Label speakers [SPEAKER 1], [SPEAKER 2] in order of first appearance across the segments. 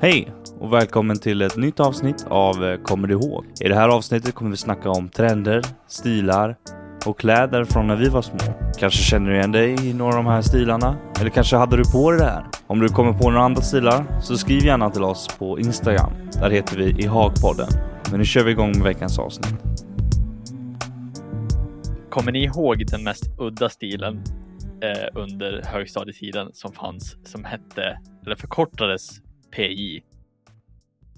[SPEAKER 1] Hej och välkommen till ett nytt avsnitt av eh, Kommer du ihåg? I det här avsnittet kommer vi snacka om trender, stilar och kläder från när vi var små. Kanske känner du igen dig i några av de här stilarna? Eller kanske hade du på dig det här? Om du kommer på några andra stilar så skriv gärna till oss på Instagram. Där heter vi i Hagpodden. Men nu kör vi igång med veckans avsnitt.
[SPEAKER 2] Kommer ni ihåg den mest udda stilen eh, under högstadietiden som fanns som hette, eller förkortades PJ,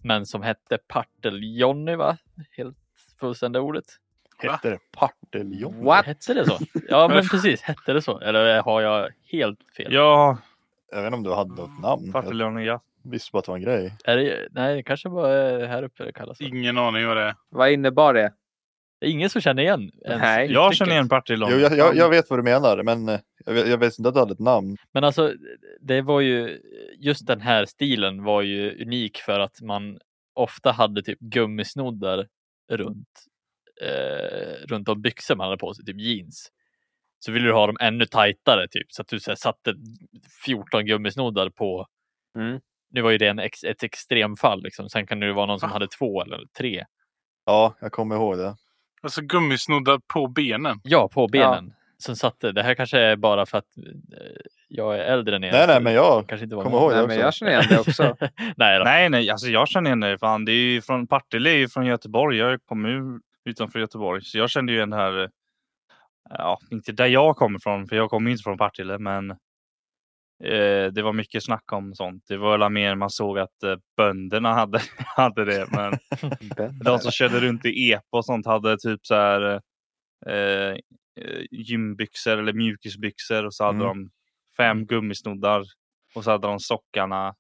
[SPEAKER 2] men som hette Partel-Johnny va? Helt fullständiga ordet.
[SPEAKER 3] Hette det parteljon?
[SPEAKER 2] Hette det så? Ja men precis, hette det så? Eller har jag helt fel?
[SPEAKER 1] Ja,
[SPEAKER 3] Jag vet inte om du hade något namn. Jag
[SPEAKER 1] Partille ja.
[SPEAKER 3] visste bara att det var en grej.
[SPEAKER 2] Är det, nej, det kanske bara eh, här uppe det kallas så.
[SPEAKER 4] Ingen aning vad det är.
[SPEAKER 5] Vad innebar det?
[SPEAKER 2] Det är ingen som känner igen ens
[SPEAKER 5] Nej.
[SPEAKER 1] Jag
[SPEAKER 2] uttrycket.
[SPEAKER 1] känner igen Partille
[SPEAKER 3] Jo, jag, jag, jag vet vad du menar, men eh, jag, vet- jag visste inte att du hade ett namn.
[SPEAKER 2] Men alltså, det var ju, just den här stilen var ju unik för att man ofta hade typ gummisnoddar runt, eh, runt de byxor man hade på sig, typ jeans. Så ville du ha dem ännu tajtare, typ, så att du så här, satte 14 gummisnoddar på.
[SPEAKER 5] Mm.
[SPEAKER 2] Nu var ju det en ex, ett extremfall, liksom. sen kan det ju vara någon som
[SPEAKER 3] Ah.
[SPEAKER 2] hade två eller tre.
[SPEAKER 3] Ja, jag kommer ihåg det.
[SPEAKER 4] Alltså gummisnoddar på benen.
[SPEAKER 2] Ja, på
[SPEAKER 5] Ja.
[SPEAKER 2] benen. Som satte, det här kanske är bara för att eh, jag är äldre än er.
[SPEAKER 3] Nej, nej,
[SPEAKER 2] så
[SPEAKER 3] men jag
[SPEAKER 2] kanske inte var
[SPEAKER 3] kommer
[SPEAKER 2] med.
[SPEAKER 3] ihåg det
[SPEAKER 5] Nej, men
[SPEAKER 3] också.
[SPEAKER 5] jag känner igen det också.
[SPEAKER 2] nej, då.
[SPEAKER 1] Nej, nej, alltså jag känner igen det. Fan, det är ju från, Partille är ju från Göteborg. Jag kommer ju utanför Göteborg, så jag kände ju den här. eh, Ja, inte där jag kommer ifrån, för jag kommer ju inte från Partille, men eh, det var mycket snack om sånt. Det var väl mer man såg att eh, bönderna hade, hade det, men de som körde runt i epa och sånt hade typ så här eh, eh, gymbyxor eller mjukisbyxor och så hade
[SPEAKER 3] Mm.
[SPEAKER 1] de fem gummisnoddar och så hade de sockarna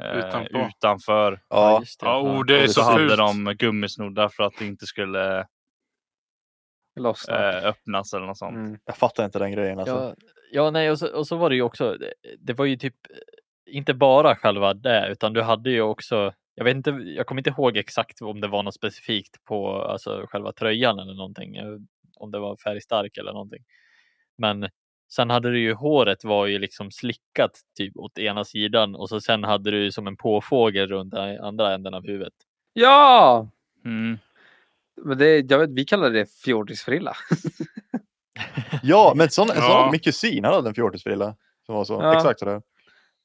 [SPEAKER 1] eh,
[SPEAKER 4] Utanpå.
[SPEAKER 1] utanför.
[SPEAKER 3] Ja,
[SPEAKER 2] just
[SPEAKER 4] Ja, oh, det är
[SPEAKER 3] Och
[SPEAKER 1] Så
[SPEAKER 4] så
[SPEAKER 1] hade
[SPEAKER 4] fult.
[SPEAKER 1] de gummisnoddar för att det inte skulle
[SPEAKER 5] Lossnat.
[SPEAKER 1] eh, öppnas eller något sånt.
[SPEAKER 5] Mm.
[SPEAKER 3] jag fattar inte den grejen alltså.
[SPEAKER 2] Ja, ja nej, och så, och så var det ju också, det, det var ju typ eh, inte bara själva det, utan du hade ju också, jag vet inte, jag kommer inte ihåg exakt om det var något specifikt på alltså, själva tröjan eller någonting, eh, om det var färgstark eller någonting. Men sen hade du ju håret var ju liksom slickat typ åt ena sidan och så sen hade du ju som en påfågel runt den andra änden av huvudet.
[SPEAKER 5] Ja!
[SPEAKER 1] Mm.
[SPEAKER 5] Men det, jag vet, vi kallar det fjordisfrilla.
[SPEAKER 3] Ja, men sån, sån,
[SPEAKER 4] Ja.
[SPEAKER 3] min kusin han hade en fjortisfrilla. Som var så.
[SPEAKER 5] Ja.
[SPEAKER 3] Exakt sådär.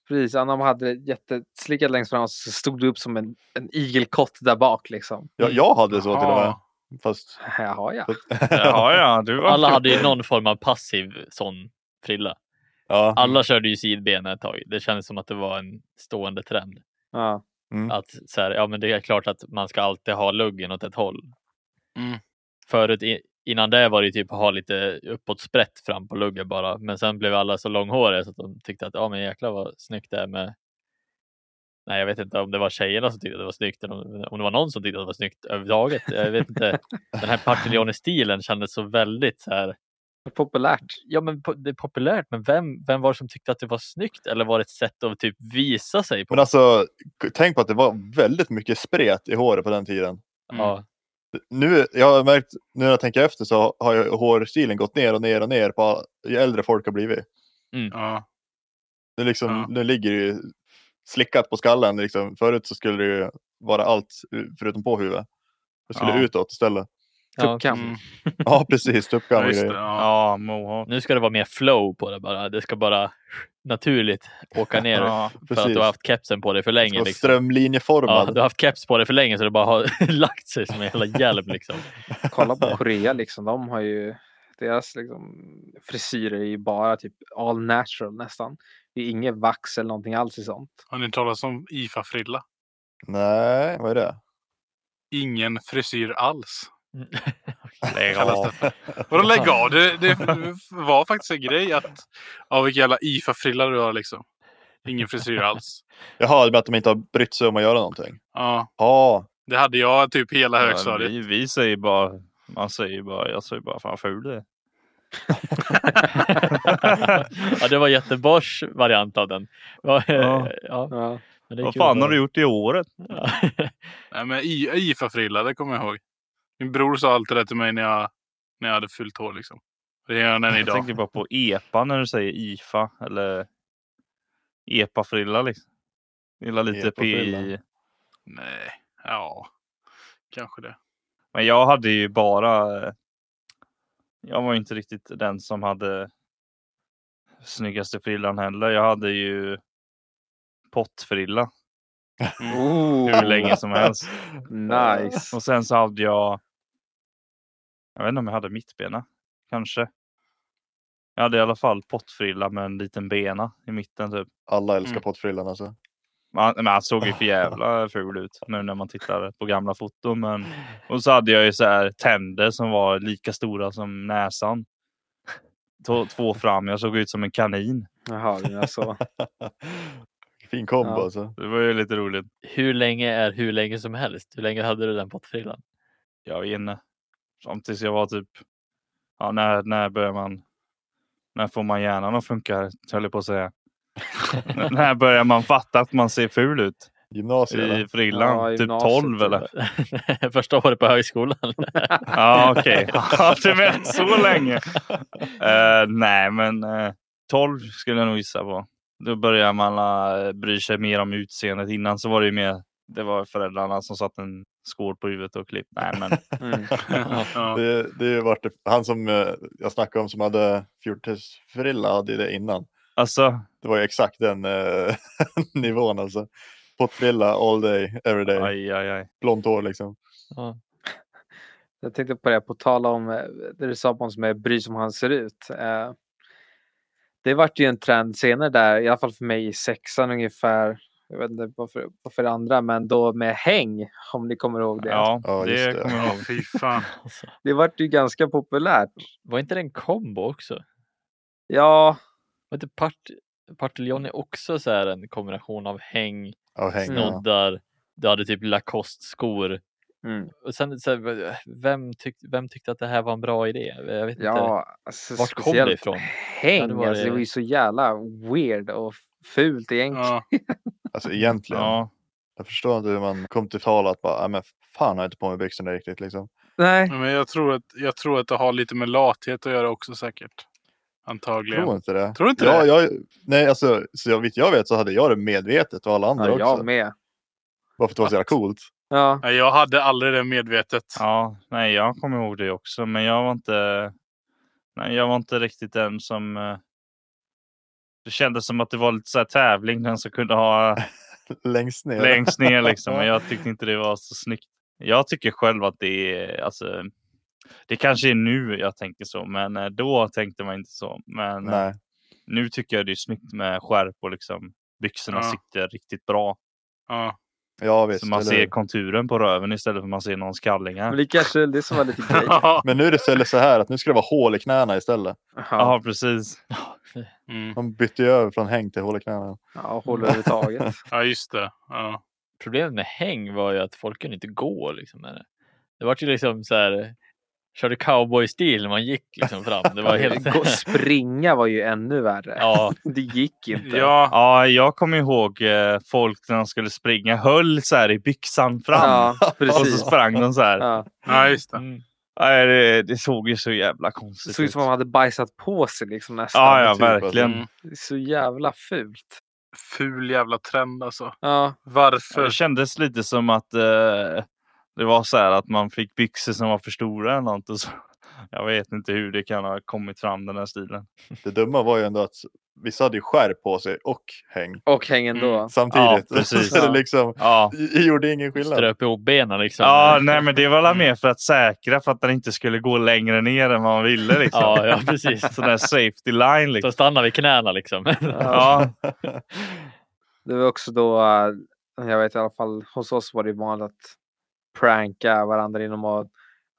[SPEAKER 5] Precis, Anna hade det jätteslickat längst fram och så stod det upp som en, en igelkott där bak liksom.
[SPEAKER 3] Jag, jag hade så till och med.
[SPEAKER 4] Ja.
[SPEAKER 3] Fast...
[SPEAKER 5] Jaha ja.
[SPEAKER 1] Ja, ja, du var
[SPEAKER 2] Alla hade ju någon form av passiv sån frilla.
[SPEAKER 3] Ja.
[SPEAKER 2] Alla körde ju sidbena ett tag. Det kändes som att det var en stående trend.
[SPEAKER 5] ja.
[SPEAKER 3] Mm.
[SPEAKER 2] att så här, ja men det är klart att man ska alltid ha luggen åt ett håll.
[SPEAKER 4] Mm.
[SPEAKER 2] Förut i- innan det var det ju typ att ha lite uppåt sprätt fram på luggen bara, men sen blev alla så långhåriga så att de tyckte att ja men jäklar vad snyggt det är med Nej, jag vet inte om det var tjejerna som tyckte att det var snyggt eller om om det var någon som tyckte att det var snyggt överhuvudtaget. Jag vet inte. Den här Partillone-stilen kändes så väldigt så här.
[SPEAKER 5] Populärt.
[SPEAKER 2] Ja, men po- det är populärt, men vem, vem var det som tyckte att det var snyggt? Eller var det ett sätt att typ visa sig på?
[SPEAKER 3] Men alltså, k- tänk på att det var väldigt mycket spret i håret på den tiden.
[SPEAKER 2] Ja,
[SPEAKER 3] nu, jag har märkt, nu när jag tänker efter så har ju hårstilen gått ner och ner och ner på all- ju äldre folk har blivit.
[SPEAKER 4] Ja.
[SPEAKER 3] Nu, liksom,
[SPEAKER 4] Ja.
[SPEAKER 3] nu ligger det ju slickat på skallen. Liksom. Förut så skulle det ju vara allt u- förutom på huvudet. Det skulle
[SPEAKER 4] Ja.
[SPEAKER 3] utåt istället.
[SPEAKER 2] Ja,
[SPEAKER 5] Tuckan.
[SPEAKER 4] Mm.
[SPEAKER 3] Ja, precis.
[SPEAKER 4] Ja,
[SPEAKER 3] Tuppkam och
[SPEAKER 4] just det.
[SPEAKER 3] grejer.
[SPEAKER 4] Ja.
[SPEAKER 1] Ja, mohawk.
[SPEAKER 2] Nu ska det vara mer flow på det bara. Det ska bara naturligt åka ner
[SPEAKER 1] Ja,
[SPEAKER 2] för att du har haft kepsen på dig för
[SPEAKER 3] Det ska
[SPEAKER 2] länge.
[SPEAKER 3] vara
[SPEAKER 2] Liksom. Ja,
[SPEAKER 3] Strömlinjeformad.
[SPEAKER 2] du har haft keps på dig för länge så det bara har lagt sig som en jävla hjälm. Liksom.
[SPEAKER 5] Kolla på Korea liksom. De har ju deras liksom, frisyrer är ju bara typ all natural nästan. Det är inget vax eller någonting alls i sånt.
[SPEAKER 4] Har ni hört talas om IFA-frilla?
[SPEAKER 3] Nej, vad är det?
[SPEAKER 4] Ingen frisyr alls.
[SPEAKER 1] lägg
[SPEAKER 4] Kallas
[SPEAKER 1] av.
[SPEAKER 4] det för. Vadå lägg av? Det, det var faktiskt en grej att... Ja, vilken jävla IFA-frilla du har liksom. Ingen frisyr alls.
[SPEAKER 3] Jaha, det med att de inte har brytt sig om att göra någonting.
[SPEAKER 4] Ja,
[SPEAKER 3] Ja,
[SPEAKER 4] det hade jag typ hela
[SPEAKER 1] Ja,
[SPEAKER 4] högstadiet.
[SPEAKER 1] vi, vi säger bara, man säger bara, jag säger bara fan ful du är.
[SPEAKER 2] ja, det var Göteborgs variant av den. Ja,
[SPEAKER 1] Ja.
[SPEAKER 2] ja,
[SPEAKER 5] Ja.
[SPEAKER 2] men det är
[SPEAKER 1] Vad
[SPEAKER 2] kul
[SPEAKER 1] fan
[SPEAKER 2] att-
[SPEAKER 1] har du gjort i året?
[SPEAKER 2] Ja.
[SPEAKER 4] Nej, men I- IFA-frilla, det kommer jag ihåg. Min bror sa alltid det till mig när jag, när jag hade fyllt hår liksom. Det gör han än
[SPEAKER 1] Jag
[SPEAKER 4] idag.
[SPEAKER 1] tänker bara på EPA när du säger IFA eller EPA-frilla. Liksom. Gillar lite
[SPEAKER 3] Epa-frillan.
[SPEAKER 1] PI.
[SPEAKER 4] Nej, ja. Kanske det.
[SPEAKER 1] Men jag hade ju bara... eh, Jag var ju inte riktigt den som hade snyggaste frillan heller. Jag hade ju pottfrilla hur länge som helst.
[SPEAKER 5] Nice.
[SPEAKER 1] Och sen så hade jag... Jag vet inte om jag hade mittbena. Kanske. Jag hade i alla fall pottfrilla med en liten bena i mitten typ.
[SPEAKER 3] Alla älskar
[SPEAKER 4] Mm.
[SPEAKER 3] pottfrillan alltså.
[SPEAKER 1] Man, men han såg ju för jävla ful ut nu när man tittar på gamla foton. Men... Och så hade jag ju så här tänder som var lika stora som näsan. Två, två fram. Jag såg ut som en kanin.
[SPEAKER 5] Jaha, det är så.
[SPEAKER 3] fin kombo
[SPEAKER 5] Ja.
[SPEAKER 3] alltså.
[SPEAKER 1] Det var ju lite roligt.
[SPEAKER 2] Hur länge är hur länge som helst? Hur länge hade du den pottfrillan?
[SPEAKER 1] Jag var inne. Fram tills jag var typ... Ja, när, när börjar man... När får man hjärnan att funka, höll jag på att säga. N- när börjar man fatta att man ser ful ut
[SPEAKER 3] Gymnasiet eller?
[SPEAKER 1] i frillan?
[SPEAKER 5] Ja, i
[SPEAKER 1] typ
[SPEAKER 5] gymnasiet
[SPEAKER 1] 12 eller?
[SPEAKER 2] Första året på högskolan.
[SPEAKER 1] Ja, okej. Ja, du menar så länge? Eh, nej, men eh, 12 skulle jag nog gissa på. Då börjar man uh, bry sig mer om utseendet. Innan så var det ju mer det var föräldrarna som satte en skål på huvudet och klipp. Nej, men
[SPEAKER 5] Mm.
[SPEAKER 4] Ja.
[SPEAKER 3] Det, det är ju vart det, han som eh, jag snackade om som hade fjortisfrilla hade ju det innan.
[SPEAKER 1] alltså,
[SPEAKER 3] Det var ju exakt den eh, nivån alltså. Pottfrilla all day, every day.
[SPEAKER 1] aj, aj, aj.
[SPEAKER 3] Blont hår liksom.
[SPEAKER 5] Jag tänkte på det, på tala om eh, det du sa på honom som är bry som han ser ut. Eh, Det vart ju en trend senare där, i alla fall för mig i sexan ungefär. Jag vet inte varför, varför andra, men då med häng, om ni kommer ihåg det.
[SPEAKER 1] Ja,
[SPEAKER 3] Ja, just
[SPEAKER 1] det
[SPEAKER 3] det.
[SPEAKER 1] kommer jag
[SPEAKER 4] Ja,
[SPEAKER 1] ihåg.
[SPEAKER 4] fy fan.
[SPEAKER 2] Alltså,
[SPEAKER 5] Det vart ju ganska populärt.
[SPEAKER 2] var inte det en kombo också?
[SPEAKER 5] Ja,
[SPEAKER 2] Var inte part, Partiljoni också så här en kombination av häng,
[SPEAKER 3] Av häng. Ja.
[SPEAKER 2] snoddar, du hade typ Lacoste-skor.
[SPEAKER 5] mm.
[SPEAKER 2] Och sen, så här, vem, tyck, vem tyckte att det här var en bra idé? Jag vet inte.
[SPEAKER 5] ja alltså,
[SPEAKER 2] Vart kom det
[SPEAKER 5] speciellt
[SPEAKER 2] ifrån?
[SPEAKER 5] Häng,
[SPEAKER 2] Ja, det var
[SPEAKER 5] alltså, det
[SPEAKER 2] det.
[SPEAKER 5] var ju så jävla weird och fult egentligen.
[SPEAKER 4] Ja.
[SPEAKER 3] Alltså egentligen.
[SPEAKER 1] Ja,
[SPEAKER 3] Jag förstår inte hur man kom till tala att bara, "Ah, men fan har jag inte på mig byxorna riktigt liksom.
[SPEAKER 5] Nej,
[SPEAKER 4] Men jag tror, att, jag tror att det har lite med lathet att göra också säkert. Antagligen.
[SPEAKER 3] Tror inte det.
[SPEAKER 4] Tror du inte
[SPEAKER 3] ja,
[SPEAKER 4] det?
[SPEAKER 3] Jag, nej, alltså, så jag, vitt jag vet så hade jag det medvetet och alla andra
[SPEAKER 5] ja,
[SPEAKER 3] också.
[SPEAKER 5] jag med.
[SPEAKER 3] Bara för att det var så jävla coolt.
[SPEAKER 5] Ja.
[SPEAKER 4] Nej, jag hade aldrig det medvetet.
[SPEAKER 1] ja, nej, jag kommer ihåg det också, men jag var inte. Nej, jag var inte riktigt den som. eh, Det kändes som att det var lite så här tävling, den som kunde ha
[SPEAKER 3] Längst ner.
[SPEAKER 1] längst ner liksom. Och jag tyckte inte det var så snyggt. Jag tycker själv att det är, alltså, det kanske är nu jag tänker så, men eh, då tänkte man inte så. Men eh,
[SPEAKER 3] Nej.
[SPEAKER 1] nu tycker jag det är snyggt med skärp och liksom byxorna
[SPEAKER 4] Ja.
[SPEAKER 1] sitter riktigt bra.
[SPEAKER 4] Ja.
[SPEAKER 3] Ja, visst.
[SPEAKER 1] så man
[SPEAKER 3] eller
[SPEAKER 1] ser
[SPEAKER 3] hur?
[SPEAKER 1] konturen på röven istället för att man ser någons kallingar.
[SPEAKER 5] Men det kanske är det som var lite grejen.
[SPEAKER 3] Men nu är det istället så här att nu ska det vara hål i knäna istället.
[SPEAKER 1] Ja,
[SPEAKER 5] Ja,
[SPEAKER 1] precis.
[SPEAKER 4] Mm.
[SPEAKER 3] De bytte ju över från häng till hål i knäna.
[SPEAKER 5] ja håller överhuvudtaget.
[SPEAKER 4] ja, just det. Ja.
[SPEAKER 2] Problemet med häng var ju att folk kunde inte gå liksom med det. Det var ju liksom så här, körde cowboy-stil när man gick liksom fram. Det var helt...
[SPEAKER 5] Gå, springa var ju ännu värre.
[SPEAKER 2] ja,
[SPEAKER 5] Det gick inte.
[SPEAKER 4] Ja,
[SPEAKER 1] Ja, jag kommer ihåg eh, folk när de skulle springa höll så här i byxan fram.
[SPEAKER 5] Ja,
[SPEAKER 1] Och så
[SPEAKER 5] precis.
[SPEAKER 1] sprang de så här.
[SPEAKER 5] Ja.
[SPEAKER 4] ja, just det.
[SPEAKER 2] mm.
[SPEAKER 1] Nej, det, det såg ju så jävla
[SPEAKER 5] Det
[SPEAKER 1] konstigt
[SPEAKER 5] såg ut
[SPEAKER 1] ut.
[SPEAKER 5] som om man hade bajsat på sig liksom nästan.
[SPEAKER 1] Ja, ja,
[SPEAKER 3] typ, alltså.
[SPEAKER 1] verkligen.
[SPEAKER 4] Mm.
[SPEAKER 5] Det är Så jävla fult.
[SPEAKER 4] Ful jävla trend alltså.
[SPEAKER 5] Ja,
[SPEAKER 1] Ja,
[SPEAKER 4] Varför?
[SPEAKER 1] Det kändes lite som att eh, det var så här att man fick byxor som var för stora eller något. Och så. Jag vet inte hur det kan ha kommit fram den här stilen.
[SPEAKER 3] Det dumma var ju ändå att vissa hade ju skärp på sig och häng
[SPEAKER 5] och häng ändå.
[SPEAKER 3] Mm. samtidigt.
[SPEAKER 1] Ja, precis.
[SPEAKER 3] så det liksom
[SPEAKER 1] Ja,
[SPEAKER 3] det gjorde ingen skillnad.
[SPEAKER 2] ströp ihop benen liksom.
[SPEAKER 1] ja nej, men det var
[SPEAKER 2] Mm.
[SPEAKER 1] väl mer för att säkra för att den inte skulle gå längre ner än vad man ville. Liksom.
[SPEAKER 2] ja, ja, precis.
[SPEAKER 1] Sån där safety line.
[SPEAKER 2] Så
[SPEAKER 1] Liksom.
[SPEAKER 2] stannar vid knäna liksom.
[SPEAKER 1] Ja,
[SPEAKER 5] Det var också då, eh, jag vet i alla fall hos oss var det vanligt att pranka varandra genom att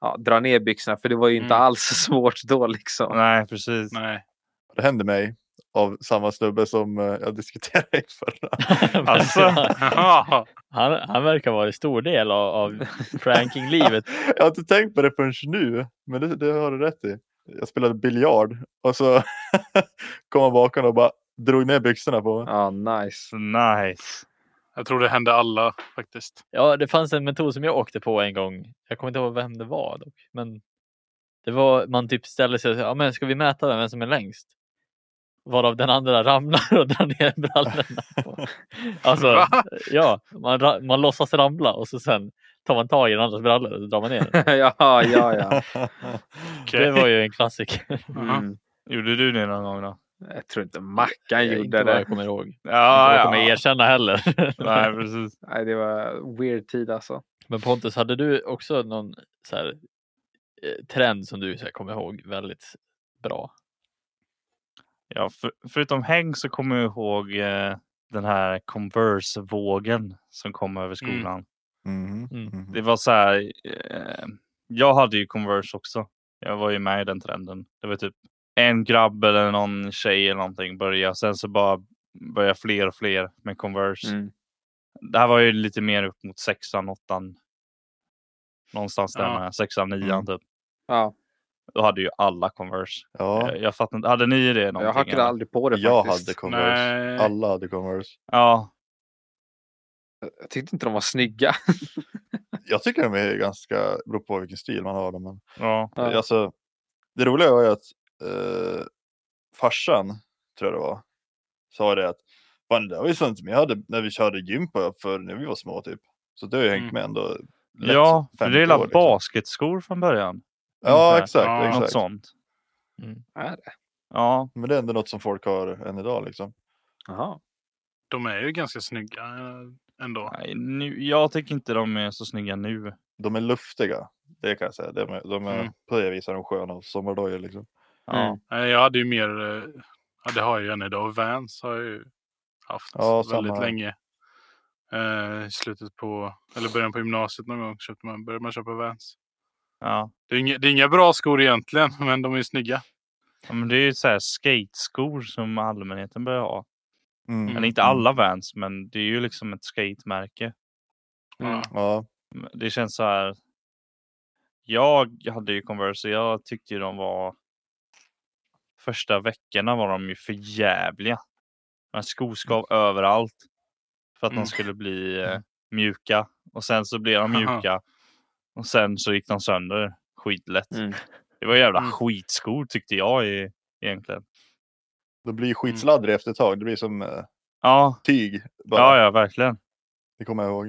[SPEAKER 5] ja, dra ner byxorna. För det var ju inte
[SPEAKER 4] Mm.
[SPEAKER 5] alls svårt då liksom.
[SPEAKER 1] nej precis.
[SPEAKER 4] Nej.
[SPEAKER 3] Det hände mig av samma snubbe som eh, jag diskuterade i förra.
[SPEAKER 1] Alltså.
[SPEAKER 4] Ja.
[SPEAKER 2] han, han verkar vara en stor del av, av pranking-livet.
[SPEAKER 3] Jag har inte tänkt på det förrän nu, men det, det har du rätt i. Jag spelade biljard och så kom han bakom och bara drog ner byxorna på mig.
[SPEAKER 5] Ja, nice.
[SPEAKER 1] Så nice.
[SPEAKER 4] Jag tror det hände alla faktiskt.
[SPEAKER 2] Ja, det fanns en metod som jag åkte på en gång. Jag kommer inte ihåg vem det var dock, men det var man typ ställde sig och sa, ja, men ska vi mäta vem som är längst? Varav den andra ramlar och drar ner brallorna. På. Alltså,
[SPEAKER 4] Va?
[SPEAKER 2] ja, man, ra- man låtsas ramla och så sen tar man tag i den andras brallor och så drar man ner den.
[SPEAKER 5] ja, ja, ja.
[SPEAKER 2] Det
[SPEAKER 4] Okej.
[SPEAKER 2] var ju en klassiker.
[SPEAKER 4] Jaha.
[SPEAKER 5] Mm.
[SPEAKER 1] Gjorde du det någon gång då?
[SPEAKER 5] Jag tror inte Mackan
[SPEAKER 2] inte
[SPEAKER 5] gjorde
[SPEAKER 2] vad
[SPEAKER 5] det.
[SPEAKER 2] jag kommer ihåg.
[SPEAKER 1] Ja,
[SPEAKER 2] jag kommer erkänna heller.
[SPEAKER 1] Nej, precis.
[SPEAKER 5] Nej, det var weird tid alltså.
[SPEAKER 2] Men Pontus, hade du också någon så här, eh, trend som du så här, kommer ihåg väldigt bra?
[SPEAKER 1] Ja, för, förutom häng så kommer jag ihåg eh, den här Converse-vågen som kom över skolan.
[SPEAKER 3] Mhm,
[SPEAKER 2] Mm.
[SPEAKER 3] mhm.
[SPEAKER 1] Det var så här. Eh, jag hade ju Converse också. Jag var ju med i den trenden. Det var typ en grabb eller någon tjej eller någonting började. Sen så bara började fler och fler med Converse.
[SPEAKER 5] Mm.
[SPEAKER 1] Det här var ju lite mer upp mot sexan, åttan. Någonstans där
[SPEAKER 4] Ja.
[SPEAKER 1] med. Sexan, nian
[SPEAKER 3] Mm.
[SPEAKER 1] typ.
[SPEAKER 5] Ja,
[SPEAKER 1] Då hade ju alla Converse.
[SPEAKER 3] Ja,
[SPEAKER 1] Jag, jag fattar inte. Hade ni det någonting?
[SPEAKER 5] jag hackade
[SPEAKER 1] eller?
[SPEAKER 5] aldrig på det
[SPEAKER 3] jag
[SPEAKER 5] faktiskt.
[SPEAKER 3] hade Converse.
[SPEAKER 4] Nej.
[SPEAKER 3] Alla hade Converse.
[SPEAKER 1] Ja.
[SPEAKER 5] Jag tyckte inte de var snygga.
[SPEAKER 3] Jag tycker de är ganska, beror på vilken stil man har dem. Men,
[SPEAKER 1] ja.
[SPEAKER 5] Ja.
[SPEAKER 3] alltså, det roliga var ju att eh, farsan, tror jag det var, sa det att Fan, det var ju sånt som jag hade när vi körde gympa för när vi var små typ. Så det har ju hängt
[SPEAKER 4] Mm.
[SPEAKER 3] med ändå. lätt
[SPEAKER 1] Ja, för
[SPEAKER 3] 50
[SPEAKER 1] det är
[SPEAKER 3] år,
[SPEAKER 1] alla
[SPEAKER 3] liksom.
[SPEAKER 1] basketskor från början.
[SPEAKER 3] Ja,
[SPEAKER 1] ungefär.
[SPEAKER 3] exakt.
[SPEAKER 4] Ja.
[SPEAKER 1] Mm. Något
[SPEAKER 3] exakt.
[SPEAKER 1] sånt.
[SPEAKER 5] Är det?
[SPEAKER 1] Ja,
[SPEAKER 3] Men det är ändå något som folk har än idag liksom.
[SPEAKER 5] Jaha.
[SPEAKER 4] De är ju ganska snygga eh, ändå.
[SPEAKER 1] nej, nu, jag tycker inte de är så snygga nu.
[SPEAKER 3] De är luftiga, det kan jag säga. De är, de är
[SPEAKER 4] Mm.
[SPEAKER 3] på det viset är de sköna och sommardojor liksom.
[SPEAKER 1] Ja.
[SPEAKER 5] Mm.
[SPEAKER 4] Nej, Jag hade ju mer... eh, Ja, det har jag ju än idag. Vans har jag ju haft
[SPEAKER 3] Ja, samma
[SPEAKER 4] väldigt
[SPEAKER 3] här.
[SPEAKER 4] länge. Eh, I slutet på... Eller början på gymnasiet någon gång köpte man, började man köpa Vans.
[SPEAKER 1] Ja.
[SPEAKER 4] Det är, inga, det är inga bra skor egentligen, men de är ju snygga.
[SPEAKER 1] ja, men det är ju så här skateskor som allmänheten börjar ha.
[SPEAKER 3] Mm.
[SPEAKER 1] Eller inte alla Vans, men det är ju liksom ett skatemärke.
[SPEAKER 5] Mm.
[SPEAKER 4] Ja.
[SPEAKER 3] Ja,
[SPEAKER 1] Det känns så här. Jag hade ju Converse och jag tyckte ju de var. Första veckorna var de ju för jävliga. De här skoskav överallt. För att
[SPEAKER 4] Mm.
[SPEAKER 1] de skulle bli eh, mjuka. Och sen så blev de
[SPEAKER 4] Haha.
[SPEAKER 1] mjuka. Och sen så gick de sönder skitlätt.
[SPEAKER 5] Mm.
[SPEAKER 1] Det var jävla
[SPEAKER 4] Mm.
[SPEAKER 1] skitskor tyckte jag i, egentligen.
[SPEAKER 3] det blir
[SPEAKER 1] Mm.
[SPEAKER 3] ju skitsladdrig efter ett tag. Det blir som eh,
[SPEAKER 1] Ja,
[SPEAKER 3] tyg. Bara.
[SPEAKER 1] ja, ja verkligen.
[SPEAKER 3] Det kommer jag ihåg.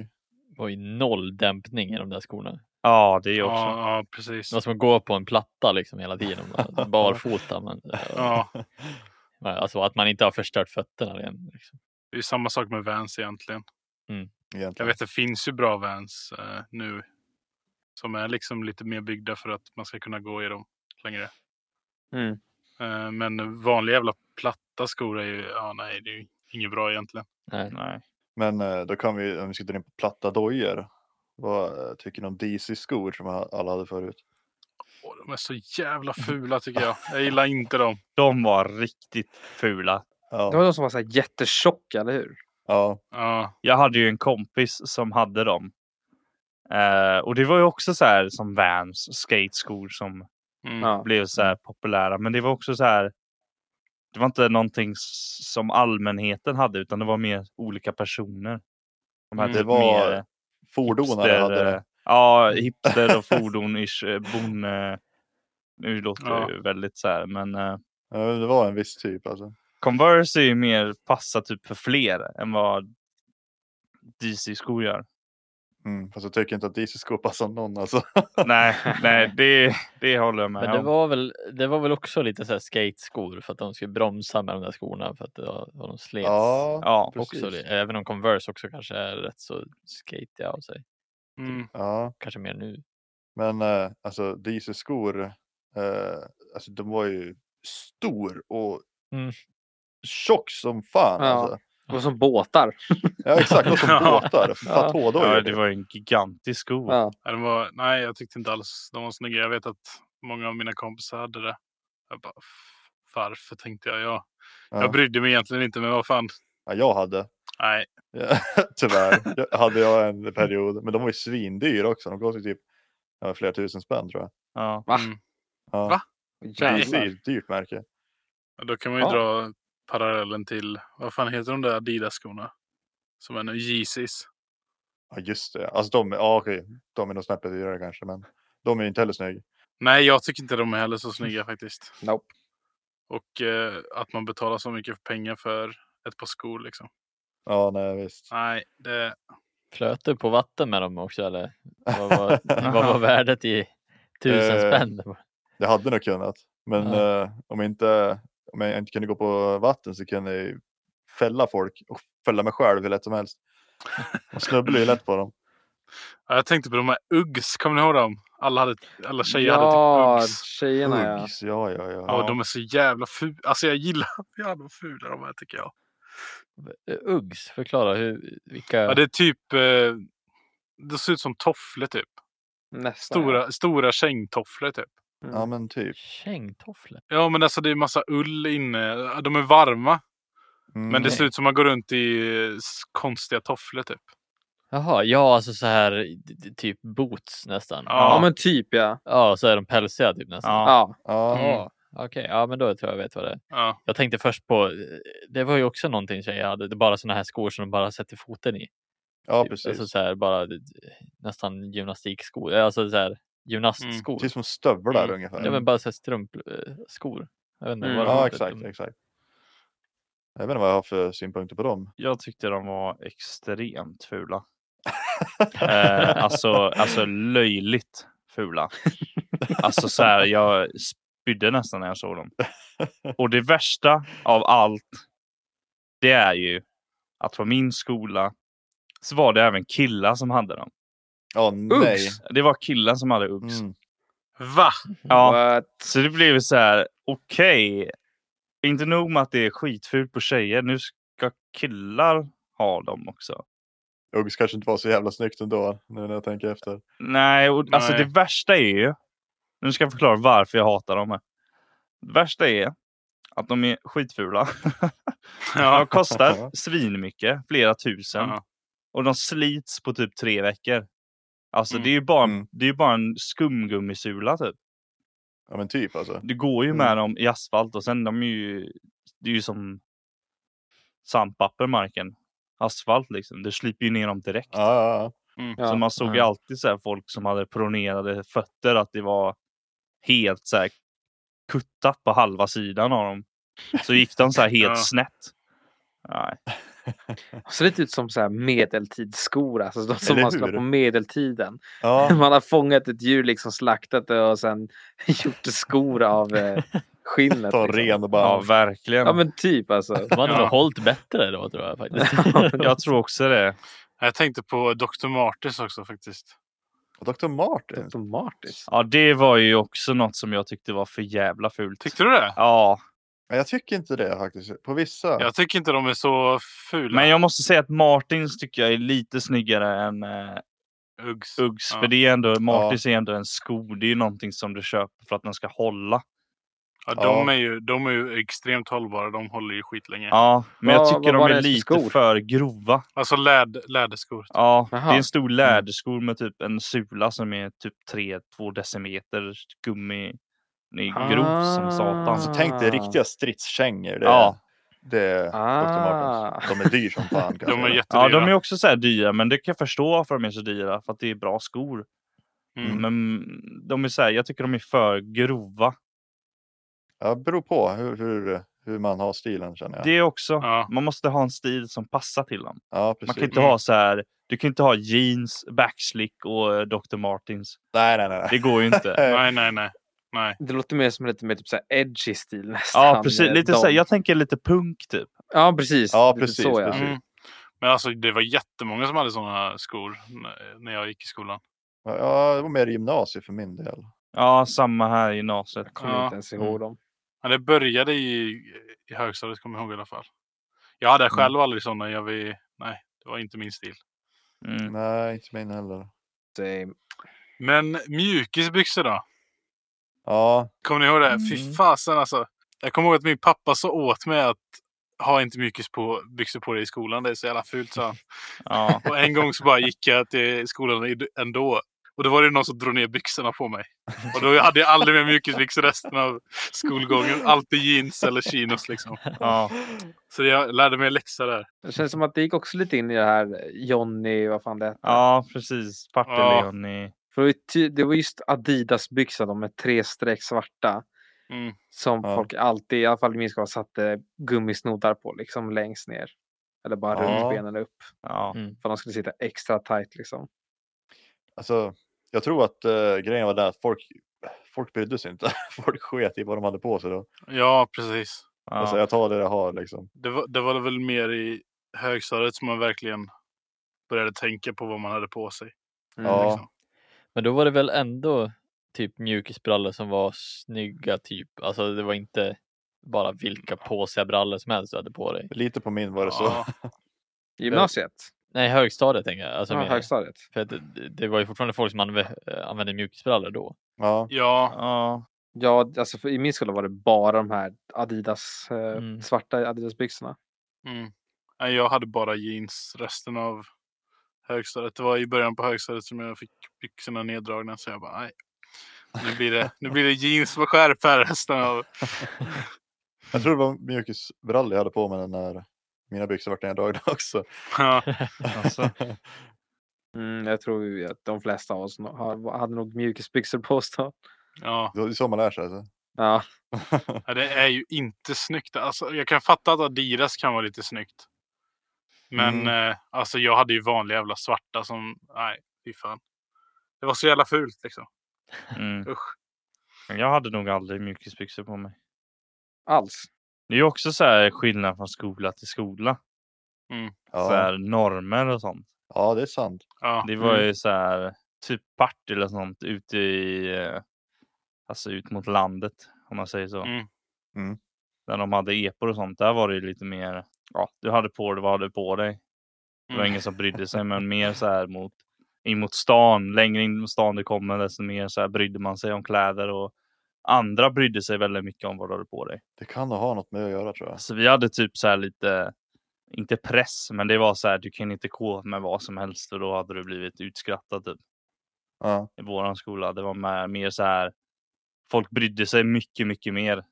[SPEAKER 2] Det var ju noll dämpning i de där skorna.
[SPEAKER 1] Ja, det är också.
[SPEAKER 4] Ja, ja, precis.
[SPEAKER 2] Det var som att gå på en platta liksom hela tiden. bara Barfota. Men,
[SPEAKER 4] Ja,
[SPEAKER 2] alltså att man inte har förstört fötterna. igen, Liksom.
[SPEAKER 4] det är ju samma sak med Vans egentligen. Jag
[SPEAKER 3] Egentligen.
[SPEAKER 4] vet, det finns ju bra Vans eh, nu. Som är liksom lite mer byggda för att man ska kunna gå i dem längre.
[SPEAKER 5] Mm.
[SPEAKER 4] Eh, men vanliga jävla platta skor är ju, ja nej, det är ju inget bra egentligen.
[SPEAKER 1] Nej.
[SPEAKER 3] Men eh, då kan vi, om vi ska dra in på platta dojor. Vad eh, tycker ni om DC-skor som alla hade förut?
[SPEAKER 4] Åh, de är så jävla fula tycker jag. Jag gillar inte dem.
[SPEAKER 1] De var riktigt fula.
[SPEAKER 5] Det var
[SPEAKER 3] Ja,
[SPEAKER 5] de som var så här jättetjocka, eller hur?
[SPEAKER 3] ja.
[SPEAKER 4] Ja,
[SPEAKER 1] Jag hade ju en kompis som hade dem. Eh, och det var ju också så här som Vans skateskor som
[SPEAKER 4] mm.
[SPEAKER 5] Ja.
[SPEAKER 1] blev så här populära. Men det var också så här. Det var inte någonting s- som allmänheten hade utan det var mer olika personer. De hade
[SPEAKER 4] Mm.
[SPEAKER 1] typ
[SPEAKER 3] Det var
[SPEAKER 1] mer
[SPEAKER 3] fordonare
[SPEAKER 1] hipster,
[SPEAKER 3] hade
[SPEAKER 1] eh,
[SPEAKER 3] det.
[SPEAKER 1] Ja, hipster och fordon-ish. eh, Bonne. Nu låter
[SPEAKER 4] Ja.
[SPEAKER 1] det ju väldigt så här men. eh,
[SPEAKER 3] Ja, det var en viss typ alltså.
[SPEAKER 1] Converse är ju mer passa typ för fler än vad DC-skor gör.
[SPEAKER 3] Mm. Fast jag tycker inte att DC-skor passar någon alltså.
[SPEAKER 1] nej, nej det, det håller jag med
[SPEAKER 2] Men det
[SPEAKER 1] om.
[SPEAKER 2] var, väl, det var väl också lite så här skateskor för att de skulle bromsa med de där skorna för att det var, och de slets.
[SPEAKER 3] Ja,
[SPEAKER 1] Ja,
[SPEAKER 2] också,
[SPEAKER 3] precis.
[SPEAKER 2] även om Converse också kanske är rätt så skatiga av sig.
[SPEAKER 4] Mm.
[SPEAKER 3] ja.
[SPEAKER 2] Kanske mer nu.
[SPEAKER 3] Men eh, alltså DC-skor, eh, alltså de var ju stor och
[SPEAKER 2] Mm.
[SPEAKER 3] tjock som fan.
[SPEAKER 5] Ja.
[SPEAKER 3] Alltså.
[SPEAKER 5] Och som båtar.
[SPEAKER 3] Ja exakt, och som
[SPEAKER 4] Ja.
[SPEAKER 3] båtar. Platådojor.
[SPEAKER 1] ja, det var ju en gigantisk sko.
[SPEAKER 5] Ja.
[SPEAKER 4] Ja, de var, nej, jag tyckte inte alls de var snygga. Jag vet att många av mina kompisar hade det. Jag bara, "F- varför tänkte jag? Jag,
[SPEAKER 3] Ja.
[SPEAKER 4] jag brydde mig egentligen inte, men vad fan.
[SPEAKER 3] Ja, jag hade.
[SPEAKER 4] Nej,
[SPEAKER 3] Ja, Tyvärr jag, hade jag en period. Men de var ju svindyra också. De kostade typ ja, flera tusen spänn tror jag.
[SPEAKER 1] Ja.
[SPEAKER 5] Va?
[SPEAKER 4] Mm.
[SPEAKER 3] Ja.
[SPEAKER 4] Va?
[SPEAKER 3] DC är
[SPEAKER 5] Jävlar.
[SPEAKER 3] ett dyrt märke.
[SPEAKER 4] Och Då kan man ju
[SPEAKER 5] Ja.
[SPEAKER 4] dra parallellen till, vad fan heter de där Adidas-skorna? Som är nu Yeezys.
[SPEAKER 3] Ja just det. Alltså de, ja, okej. de är nog snäppet dyrare kanske. Men de är ju inte heller snygga.
[SPEAKER 4] Nej, jag tycker inte de är heller så snygga faktiskt.
[SPEAKER 5] Nope.
[SPEAKER 4] Och eh, att man betalar så mycket pengar för ett par skor liksom.
[SPEAKER 3] Ja, nej visst.
[SPEAKER 4] Nej, det...
[SPEAKER 2] Flöt du på vatten med dem också eller? Vad var, vad var värdet i tusen
[SPEAKER 3] Eh,
[SPEAKER 2] spänn?
[SPEAKER 3] Jag hade nog kunnat. Men
[SPEAKER 2] Ja.
[SPEAKER 3] eh, om, jag inte, om jag inte kunde gå på vatten så kunde jag ju fälla folk och fälla mig själv hur lätt som helst. Man snubblar ju lätt på dem.
[SPEAKER 4] Ja, Jag tänkte på de här Uggs, kommer ni ihåg dem? Alla, hade, alla tjejer
[SPEAKER 5] ja,
[SPEAKER 4] hade typ Uggs.
[SPEAKER 5] tjejerna ja.
[SPEAKER 3] Uggs, ja, ja, ja.
[SPEAKER 4] Ja, de är så jävla fula. Alltså jag gillar hur jävla fula de är tycker jag.
[SPEAKER 2] Uggs, förklara hur, vilka...
[SPEAKER 4] Ja, det är typ... Eh, det ser ut som tofflor typ.
[SPEAKER 5] Nästan.
[SPEAKER 4] Stora, stora kängtofflor typ.
[SPEAKER 5] Mm.
[SPEAKER 3] Ja, men typ.
[SPEAKER 2] Kängtofflor?
[SPEAKER 4] Ja, men alltså det är massa ull inne. De är varma.
[SPEAKER 3] Mm.
[SPEAKER 4] Men det
[SPEAKER 2] Nej.
[SPEAKER 4] ser ut som att man går runt i eh, s- konstiga tofflor typ.
[SPEAKER 2] Jaha, ja alltså så här d- d- typ boots nästan.
[SPEAKER 4] Ja.
[SPEAKER 5] ja. men typ ja.
[SPEAKER 2] Ja, så är de pälsiga typ nästan.
[SPEAKER 1] Ja.
[SPEAKER 5] Ja.
[SPEAKER 3] Ja,
[SPEAKER 2] Ja, Okej, ja men då tror jag jag vet vad det är.
[SPEAKER 4] Ja.
[SPEAKER 2] Jag tänkte först på, det var ju också någonting tjejer hade, det är bara såna här skor som de bara sätter foten i.
[SPEAKER 3] ja
[SPEAKER 2] typ.
[SPEAKER 3] precis.
[SPEAKER 2] Alltså så här, bara d- d- nästan gymnastikskor, eh, alltså så här gymnastskor.
[SPEAKER 3] Typ som stövlar
[SPEAKER 4] Mm.
[SPEAKER 3] ungefär.
[SPEAKER 2] Ja men bara så här strumpskor. Jag vet inte
[SPEAKER 5] Mm.
[SPEAKER 2] vad de
[SPEAKER 3] ja,
[SPEAKER 2] heter.
[SPEAKER 3] exakt, exakt. Jag vet inte vad jag har för synpunkter på dem.
[SPEAKER 1] Jag tyckte de var extremt fula. Eh, alltså, alltså löjligt fula. Alltså så här, jag spydde nästan när jag såg dem. Och det värsta av allt, det är ju att på min skola så var det även killar som hade dem.
[SPEAKER 3] Ja, nej.
[SPEAKER 5] Uggs.
[SPEAKER 1] Det var killar som hade Uggs.
[SPEAKER 3] Mm.
[SPEAKER 4] Va?
[SPEAKER 1] Ja,
[SPEAKER 5] What?
[SPEAKER 1] så det blev så här, okej. Inte nog med att det är skitfult på tjejer, nu ska killar ha dem också.
[SPEAKER 3] Uggs kanske inte var så jävla snyggt ändå, nu när jag tänker efter.
[SPEAKER 1] Nej, och, alltså
[SPEAKER 4] Nej.
[SPEAKER 1] det värsta är ju... Nu ska jag förklara varför jag hatar dem. Här. Det värsta är att de är skitfula. De
[SPEAKER 4] Ja.
[SPEAKER 1] kostar svinmycket, flera tusen.
[SPEAKER 4] Ja.
[SPEAKER 1] Och de slits på typ tre veckor. Alltså
[SPEAKER 4] Mm.
[SPEAKER 1] det är ju bara,
[SPEAKER 3] Mm.
[SPEAKER 1] det är ju bara en skumgummisula typ.
[SPEAKER 3] Ja men typ alltså.
[SPEAKER 1] Du går ju med
[SPEAKER 4] Mm.
[SPEAKER 1] dem i asfalt och sen de är ju... Det är ju som sandpapper marken. Asfalt liksom. Det sliper ju ner dem direkt.
[SPEAKER 3] Ja, ja, ja.
[SPEAKER 4] Mm.
[SPEAKER 5] Ja.
[SPEAKER 1] Så man såg ju
[SPEAKER 2] Ja.
[SPEAKER 1] alltid så här folk som hade pronerade fötter, att det var helt så här kuttat på halva sidan av dem. Så gick de så här helt
[SPEAKER 4] Ja.
[SPEAKER 1] snett. Nej.
[SPEAKER 5] Ser lite ut som så här medeltidsskor, alltså de som
[SPEAKER 3] Eller
[SPEAKER 5] man skulle ha
[SPEAKER 3] hur?
[SPEAKER 5] på medeltiden.
[SPEAKER 3] ja.
[SPEAKER 5] Man har fångat ett djur, liksom slaktat det och sen gjort skor av eh, skinnet.
[SPEAKER 3] Ta
[SPEAKER 5] liksom.
[SPEAKER 3] ren och bara...
[SPEAKER 1] Ja, verkligen.
[SPEAKER 5] Ja men typ alltså.
[SPEAKER 2] De hade
[SPEAKER 4] Ja.
[SPEAKER 2] nog hållit bättre då tror jag faktiskt.
[SPEAKER 1] Jag tror också det.
[SPEAKER 4] Jag tänkte på Dr. Martens också faktiskt.
[SPEAKER 3] Dr. Martens.
[SPEAKER 5] Dr. Martens.
[SPEAKER 1] Ja, det var ju också något som jag tyckte var för jävla fult.
[SPEAKER 4] Tyckte du det?
[SPEAKER 1] Ja,
[SPEAKER 3] Men jag tycker inte det faktiskt. På vissa.
[SPEAKER 4] Jag tycker inte de är så fula.
[SPEAKER 1] men jag måste säga att Martins tycker jag är lite snyggare än eh,
[SPEAKER 4] Uggs.
[SPEAKER 1] Uggs.
[SPEAKER 4] Ja.
[SPEAKER 1] För det är ändå, Martins är ändå en sko. Det är ju någonting som du köper för att den ska hålla.
[SPEAKER 4] Ja, de,
[SPEAKER 3] Ja.
[SPEAKER 4] är ju, de är ju extremt hållbara. De håller ju skitlänge.
[SPEAKER 1] Ja, men
[SPEAKER 5] Vad-
[SPEAKER 1] jag tycker
[SPEAKER 5] vad var
[SPEAKER 1] de
[SPEAKER 5] det
[SPEAKER 1] är
[SPEAKER 5] för
[SPEAKER 1] lite
[SPEAKER 5] skor?
[SPEAKER 1] för grova.
[SPEAKER 4] Alltså läd, läderskor.
[SPEAKER 1] Ja, det
[SPEAKER 5] Jaha.
[SPEAKER 1] är en stor
[SPEAKER 4] Mm.
[SPEAKER 1] läderskor med typ en sula som är typ 3-2 decimeter gummi. Den är grov som satan.
[SPEAKER 4] Ah.
[SPEAKER 3] Alltså tänk dig riktiga stridskängor. Det,
[SPEAKER 1] Ja.
[SPEAKER 3] det är Dr.
[SPEAKER 5] Ah.
[SPEAKER 3] Martens. De är dyr som fan. kan jag
[SPEAKER 4] De är
[SPEAKER 3] säga.
[SPEAKER 1] Ja,
[SPEAKER 4] jättedyra.
[SPEAKER 1] de är också så här dyra, men det kan jag förstå varför de är så dyra. För att det är bra skor.
[SPEAKER 4] Mm.
[SPEAKER 1] Men de är så här, jag tycker de är för grova.
[SPEAKER 3] ja, beror på hur, hur, hur man har stilen känner jag.
[SPEAKER 1] Det är också.
[SPEAKER 4] Ja.
[SPEAKER 1] Man måste ha en stil som passar till dem.
[SPEAKER 3] Ja, precis.
[SPEAKER 1] Man kan inte
[SPEAKER 4] Mm.
[SPEAKER 1] ha så här, du kan inte ha jeans, backslick och eh, Dr. Martins.
[SPEAKER 3] Nej, nej, nej.
[SPEAKER 1] Det går ju inte.
[SPEAKER 4] Nej, nej, nej. nej.
[SPEAKER 5] Det låter mer som lite mer typ så här edgy stil nästan.
[SPEAKER 1] Ja, precis.
[SPEAKER 5] eh,
[SPEAKER 1] Lite
[SPEAKER 5] de-
[SPEAKER 1] så här, jag tänker lite punk typ.
[SPEAKER 5] Ja precis.
[SPEAKER 3] Ja,
[SPEAKER 5] Lite
[SPEAKER 3] precis,
[SPEAKER 5] Så, ja.
[SPEAKER 3] precis.
[SPEAKER 4] Mm. Men alltså det var jättemånga som hade sådana skor n- när jag gick i skolan.
[SPEAKER 3] Ja, det var mer gymnasiet för min del.
[SPEAKER 1] Ja, samma här i gymnasiet.
[SPEAKER 5] Jag kommer
[SPEAKER 4] Ja.
[SPEAKER 5] inte ens ihåg dem.
[SPEAKER 4] Men det började i, i högstadiet kommer jag ihåg i alla fall. Jag hade själv aldrig sådana. Jag vill, nej, det var inte min stil.
[SPEAKER 1] Mm.
[SPEAKER 3] Nej, inte min heller.
[SPEAKER 5] Same.
[SPEAKER 4] Men mjukisbyxor då?
[SPEAKER 3] Ja,
[SPEAKER 4] Kommer ni ihåg det? Fy
[SPEAKER 1] Mm.
[SPEAKER 4] fasen alltså. Jag kommer ihåg att min pappa sa åt mig att ha inte mjukis på byxor på dig i skolan. Det är så jävla fult, sa han.
[SPEAKER 1] Ja.
[SPEAKER 4] Och en gång så bara gick jag till skolan i- ändå. Och då var det någon som drog ner byxorna på mig. Och då hade jag aldrig mer mjukisbyxor resten av skolgången. Alltid jeans eller chinos liksom.
[SPEAKER 1] Ja.
[SPEAKER 4] Så jag lärde mig en läxa där.
[SPEAKER 5] Det känns som att det gick också lite in i det här eh, Johnny, vad fan det hette.
[SPEAKER 1] ja, precis. Partille
[SPEAKER 4] Ja.
[SPEAKER 1] Johnny.
[SPEAKER 5] För det var ju ty- det var just Adidas byxor de med tre streck svarta.
[SPEAKER 4] Mm.
[SPEAKER 5] Som
[SPEAKER 3] Ja.
[SPEAKER 5] folk alltid, i alla fall i min skola, satte gummisnoddar på liksom längst ner. Eller bara
[SPEAKER 3] Ja.
[SPEAKER 5] runt benen upp.
[SPEAKER 1] Ja.
[SPEAKER 2] Mm.
[SPEAKER 5] För de skulle sitta extra tight liksom.
[SPEAKER 3] Alltså, jag tror att eh, grejen var där att folk, folk brydde sig inte. Folk sket i vad de hade på sig då.
[SPEAKER 4] Ja, precis.
[SPEAKER 1] Ja.
[SPEAKER 3] Alltså, jag tar det jag har liksom.
[SPEAKER 4] Det var, det var väl mer i högstadiet som man verkligen började tänka på vad man hade på sig.
[SPEAKER 5] Mm,
[SPEAKER 3] Ja.
[SPEAKER 4] Liksom.
[SPEAKER 2] Men då var det väl ändå typ mjukisbrallor som var snygga typ. Alltså det var inte bara vilka påsiga brallor som helst du hade på dig.
[SPEAKER 3] Lite på min var det så.
[SPEAKER 4] Ja.
[SPEAKER 5] Gymnasiet?
[SPEAKER 2] Nej, högstadiet tänker jag. Alltså,
[SPEAKER 5] Ja,
[SPEAKER 2] menar jag.
[SPEAKER 5] högstadiet.
[SPEAKER 2] För att det, det var ju fortfarande folk som använde, eh, använde mjukisbrallor då.
[SPEAKER 3] Ja.
[SPEAKER 4] ja,
[SPEAKER 1] ja.
[SPEAKER 5] Ja, alltså för, i min skola var det bara de här Adidas, eh,
[SPEAKER 2] Mm.
[SPEAKER 5] svarta Adidas-byxorna.
[SPEAKER 4] Mm. Nej, Jag hade bara jeans resten av högstadiet. Det var i början på högstadiet som jag fick byxorna neddragna. Så jag bara, nej. Nu blir det, nu blir det jeans med skärp här resten av...
[SPEAKER 3] Jag tror det var mjukisbrallor jag hade på mig när mina byxor vart neddragna också.
[SPEAKER 4] Ja,
[SPEAKER 1] Alltså.
[SPEAKER 5] Mm, jag tror ju att de flesta av oss no- har- hade nog mjukisbyxor på oss då.
[SPEAKER 4] ja.
[SPEAKER 3] Det är så man lär sig alltså.
[SPEAKER 5] Ja,
[SPEAKER 4] Ja, det är ju inte snyggt. Alltså, jag kan fatta att Adidas kan vara lite snyggt. Men
[SPEAKER 1] Mm.
[SPEAKER 4] eh, alltså, jag hade ju vanliga jävla svarta som... Nej, fy fan. Det var så jävla fult liksom.
[SPEAKER 1] Mm.
[SPEAKER 4] Usch.
[SPEAKER 1] Men Jag hade nog aldrig mjukisbyxor på mig.
[SPEAKER 5] alls.
[SPEAKER 1] Det är ju också så här skillnad från skola till skola. Så
[SPEAKER 3] Ja.
[SPEAKER 1] här normer och sånt.
[SPEAKER 3] ja, det är sant.
[SPEAKER 4] Ja,
[SPEAKER 1] Det var
[SPEAKER 5] Mm.
[SPEAKER 1] ju så här typ Partille och sånt ute i, eh, alltså ut mot landet om man säger så.
[SPEAKER 4] Mm.
[SPEAKER 3] Mm.
[SPEAKER 1] Där de hade epor och sånt, där var det ju lite mer, ja du hade på dig vad du hade på dig. Det var
[SPEAKER 4] Mm.
[SPEAKER 1] ingen som brydde sig men mer så här mot, in mot stan, längre in mot stan du kommer desto mer så här brydde man sig om kläder och andra brydde sig väldigt mycket om vad du hade på dig.
[SPEAKER 3] Det kan nog ha något med att göra tror jag.
[SPEAKER 1] Alltså vi hade typ så här lite, inte press men det var så här du kan inte gå med vad som helst och då hade du blivit utskrattad typ
[SPEAKER 3] Ja.
[SPEAKER 1] i våran skola. Det var mer, mer så här. Folk brydde sig mycket, mycket mer.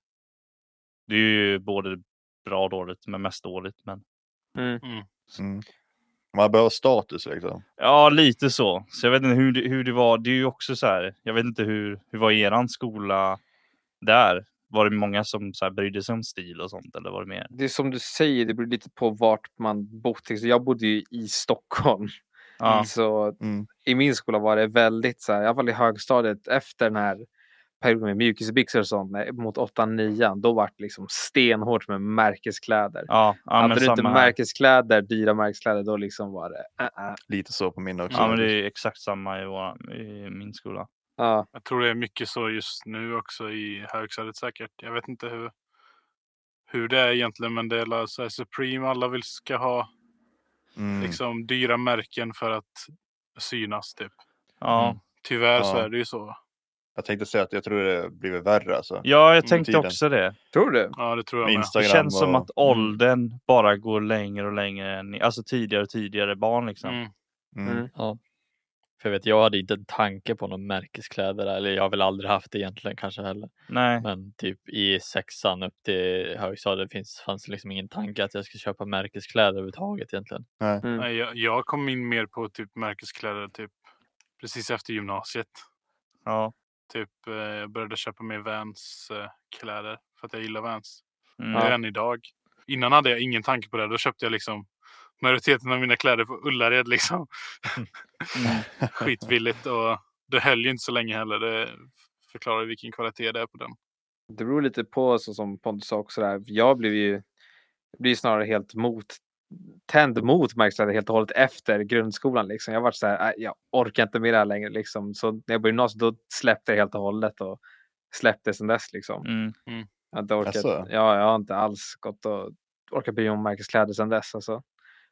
[SPEAKER 1] Det är ju både bra och dåligt, men mest dåligt. Men
[SPEAKER 3] Mm. Man behöver status liksom.
[SPEAKER 1] ja, lite så. Så jag vet inte hur det, hur det var. Det är ju också så här. Jag vet inte hur, hur var eran skola där? Var det många som så här brydde sig om stil och sånt eller var det mer?
[SPEAKER 5] Det är som du säger, det beror lite på vart man bott. Så Jag bodde ju i Stockholm.
[SPEAKER 1] Ja,
[SPEAKER 5] Så
[SPEAKER 3] Mm.
[SPEAKER 5] i min skola var det väldigt så här, i alla fall i högstadiet efter den här perioden med mjukisbyxor och sånt, när- mot 8-9, då var det liksom stenhårt med märkeskläder.
[SPEAKER 1] ja, ja men
[SPEAKER 5] Hade du inte
[SPEAKER 1] samma här.
[SPEAKER 5] märkeskläder, dyra märkeskläder, då liksom var det... Uh, uh.
[SPEAKER 3] Lite så på min också.
[SPEAKER 1] Ja, men det är exakt samma i, våran, i min skola.
[SPEAKER 5] Ja,
[SPEAKER 4] Jag tror det är mycket så just nu också i högstadiet säkert. Jag vet inte hur, hur det är egentligen, men det är la- så här Supreme. Alla vill ska ha
[SPEAKER 3] Mm.
[SPEAKER 4] liksom dyra märken för att synas typ.
[SPEAKER 1] Ja,
[SPEAKER 2] Mm.
[SPEAKER 4] Tyvärr så
[SPEAKER 3] Ja.
[SPEAKER 4] är det ju så.
[SPEAKER 3] Jag tänkte säga att jag tror det blivit värre alltså.
[SPEAKER 1] ja jag tänkte
[SPEAKER 3] tiden.
[SPEAKER 1] också det.
[SPEAKER 5] tror du?
[SPEAKER 4] Ja, det tror jag
[SPEAKER 3] Med
[SPEAKER 4] med.
[SPEAKER 1] Det
[SPEAKER 3] Instagram
[SPEAKER 1] känns som
[SPEAKER 3] och... Mm.
[SPEAKER 1] att åldern bara går längre och längre, än, alltså tidigare och tidigare barn liksom.
[SPEAKER 4] Mm.
[SPEAKER 3] Mm.
[SPEAKER 5] Mm.
[SPEAKER 2] Ja. För jag vet, jag hade inte en tanke på någon märkeskläder eller jag har väl aldrig haft det egentligen kanske heller.
[SPEAKER 1] Nej,
[SPEAKER 2] Men typ i sexan upp till högstadiet finns, fanns det liksom ingen tanke att jag skulle köpa märkeskläder överhuvudtaget egentligen.
[SPEAKER 5] Mm.
[SPEAKER 4] Nej, jag, jag kom in mer på typ märkeskläder typ precis efter gymnasiet.
[SPEAKER 1] ja.
[SPEAKER 4] Typ eh, jag började köpa mer Vans eh, kläder för att jag gillar Vans.
[SPEAKER 1] Mm.
[SPEAKER 4] Det är än idag. Innan hade jag ingen tanke på det. Då köpte jag liksom majoriteten av mina kläder på Ullared liksom. Skitbilligt och det höll ju inte så länge heller. Det förklarar ju vilken kvalitet det är på den.
[SPEAKER 5] Det beror lite på, så som Pontus sa också, där. jag blev ju jag blev ju snarare helt mot, tänd mot märkeskläder helt och hållet efter grundskolan. Liksom. Jag var så här, "Äh, jag orkar inte med det här längre. Liksom. Så när jag började gymnasiet, då släppte jag helt och hållet och släppte sen dess. Liksom.
[SPEAKER 1] Mm.
[SPEAKER 5] Jag, har inte orkat,
[SPEAKER 3] Jaså?
[SPEAKER 5] ja, jag har inte alls gått och orkat bry mig om märkeskläder sen dess. Alltså.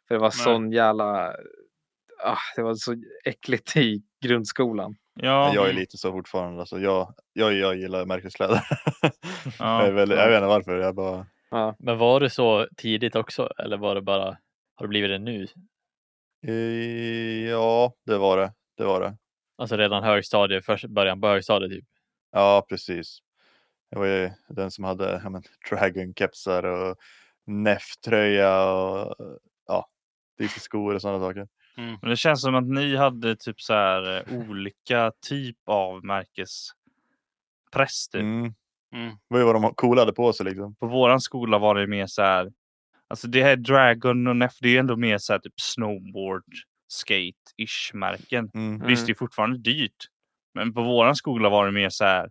[SPEAKER 5] För det var
[SPEAKER 4] Nej.
[SPEAKER 5] sån jävla, ah, det var så äckligt i grundskolan.
[SPEAKER 1] Ja,
[SPEAKER 3] Men Jag är lite så fortfarande. Alltså, jag, jag, jag gillar märkeskläder.
[SPEAKER 1] ja,
[SPEAKER 3] jag, är väldigt, jag vet inte varför. Jag bara...
[SPEAKER 2] Men var det så tidigt också eller var det bara, har det blivit det nu?
[SPEAKER 3] Eh, Ja, det var det. Det var det.
[SPEAKER 2] Alltså redan högstadiet, först början på högstadiet typ.
[SPEAKER 3] Ja, precis. Jag var ju den som hade ja, men, dragonkepsar och NEF-tröja och ja, skor och sådana saker.
[SPEAKER 1] Men det känns som att ni hade typ så här eh, olika typ av märkespress typ.
[SPEAKER 3] Mm.
[SPEAKER 4] Mm.
[SPEAKER 3] Det var ju vad de coola hade på sig liksom.
[SPEAKER 1] På våran skola var det mer så här. Alltså det här Dragon och Neff, det är ju ändå mer så här typ snowboard, skate-ish märken.
[SPEAKER 3] Mm.
[SPEAKER 1] Visst, det är fortfarande dyrt. Men på våran skola var det mer så här.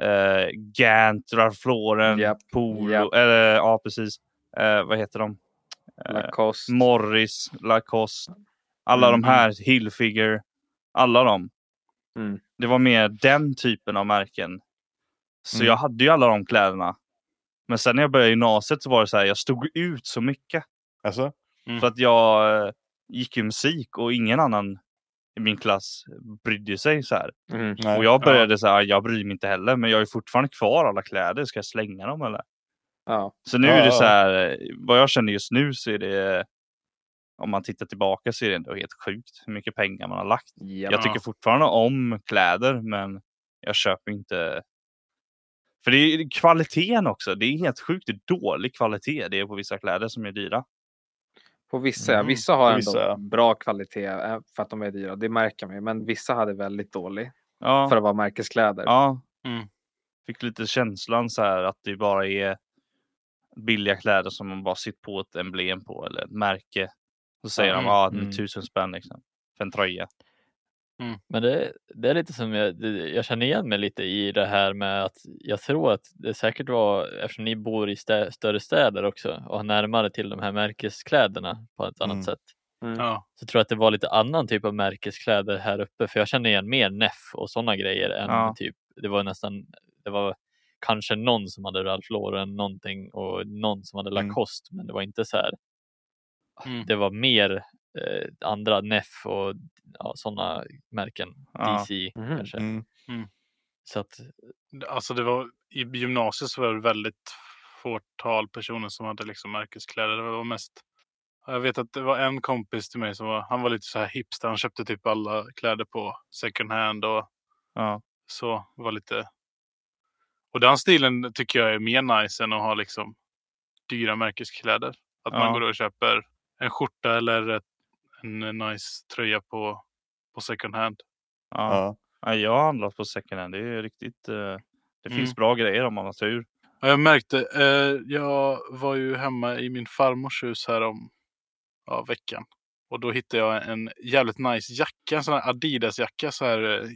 [SPEAKER 1] Eh, Gant, Ralph Lauren,
[SPEAKER 5] Japp,
[SPEAKER 1] Polo,
[SPEAKER 5] japp.
[SPEAKER 1] eller ja precis. Eh, vad heter de? Eh,
[SPEAKER 5] Lacoste.
[SPEAKER 1] Morris, Lacoste. Alla de här, Hillfigure. Alla de.
[SPEAKER 5] Mm.
[SPEAKER 1] Det var mer den typen av märken. Så
[SPEAKER 3] Mm.
[SPEAKER 1] jag hade ju alla de kläderna. Men sen när jag började gymnasiet så var det så här, jag stod ut så mycket.
[SPEAKER 3] Alltså?
[SPEAKER 4] Mm.
[SPEAKER 1] För att jag eh, gick ju musik och ingen annan i min klass brydde sig så här.
[SPEAKER 5] Mm.
[SPEAKER 3] Nej.
[SPEAKER 1] Och jag började så här, jag bryr mig inte heller, men jag är fortfarande kvar alla kläder. Ska jag slänga dem eller?
[SPEAKER 5] Ja.
[SPEAKER 1] Så nu
[SPEAKER 3] Ja,
[SPEAKER 1] är det
[SPEAKER 3] ja,
[SPEAKER 1] så
[SPEAKER 3] ja.
[SPEAKER 1] här, eh, vad jag känner just nu så är det, om man tittar tillbaka så är det ändå helt sjukt hur mycket pengar man har lagt.
[SPEAKER 5] Japp.
[SPEAKER 1] Jag tycker fortfarande om kläder, men jag köper inte. För det är kvaliteten också. Det är helt sjukt hur dålig kvalitet det är på vissa kläder som är dyra.
[SPEAKER 5] På vissa, ja.
[SPEAKER 3] Mm.
[SPEAKER 5] Vissa har
[SPEAKER 3] På
[SPEAKER 5] ändå
[SPEAKER 3] vissa, ja.
[SPEAKER 5] bra kvalitet eh, för att de är dyra. Det märker man ju. Men vissa hade väldigt dålig
[SPEAKER 1] Ja,
[SPEAKER 5] för att vara märkeskläder.
[SPEAKER 1] ja.
[SPEAKER 4] Mm.
[SPEAKER 1] Fick lite känslan så här att det bara är billiga kläder som man bara sitter på ett emblem på eller ett märke. Så säger de
[SPEAKER 4] Mm.
[SPEAKER 1] ja, det är
[SPEAKER 2] Mm.
[SPEAKER 1] tusen spänn liksom. För en tröja.
[SPEAKER 2] Men det, det är lite som jag, det- jag känner igen mig lite i det här med att jag tror att det säkert var eftersom ni bor i stä, större städer också och har närmare till de här märkeskläderna på ett annat
[SPEAKER 3] Mm.
[SPEAKER 2] sätt.
[SPEAKER 5] Mm.
[SPEAKER 4] Ja.
[SPEAKER 2] Så tror jag att det var lite annan typ av märkeskläder här uppe för jag känner igen mer Neff och sådana grejer än
[SPEAKER 1] Ja.
[SPEAKER 2] typ, det var nästan, det var kanske någon som hade Ralph Lauren någonting och någon som hade
[SPEAKER 3] Mm.
[SPEAKER 2] Lacoste men det var inte så här
[SPEAKER 4] Mm.
[SPEAKER 2] det var mer eh, andra Neff och ja, sådana märken.
[SPEAKER 1] Ja.
[SPEAKER 2] DC
[SPEAKER 5] Mhm.
[SPEAKER 2] kanske.
[SPEAKER 3] Mm.
[SPEAKER 2] Så att,
[SPEAKER 4] Alltså det var i gymnasiet så var det väldigt fåtal personer som hade liksom märkeskläder. Det var mest. Jag vet att det var en kompis till mig som var, han var lite så här hipster. Han köpte typ alla kläder på second hand och
[SPEAKER 1] Ja.
[SPEAKER 4] så var lite. Och den stilen tycker jag är mer nice än att ha liksom dyra märkeskläder. Att
[SPEAKER 1] Ja.
[SPEAKER 4] man går och köper en skjorta eller ett, en nice tröja på, på second hand.
[SPEAKER 1] Ja.
[SPEAKER 3] Ja.
[SPEAKER 1] Ja, jag har handlat på second hand. Det är riktigt. eh, det
[SPEAKER 4] Mm.
[SPEAKER 1] finns bra grejer om man har tur.
[SPEAKER 4] Ja, jag märkte. Eh, jag var ju hemma i min farmors hus här om ja, veckan. Och då hittade jag en jävligt nice jacka. En sån här Adidas-jacka. Så här, eh,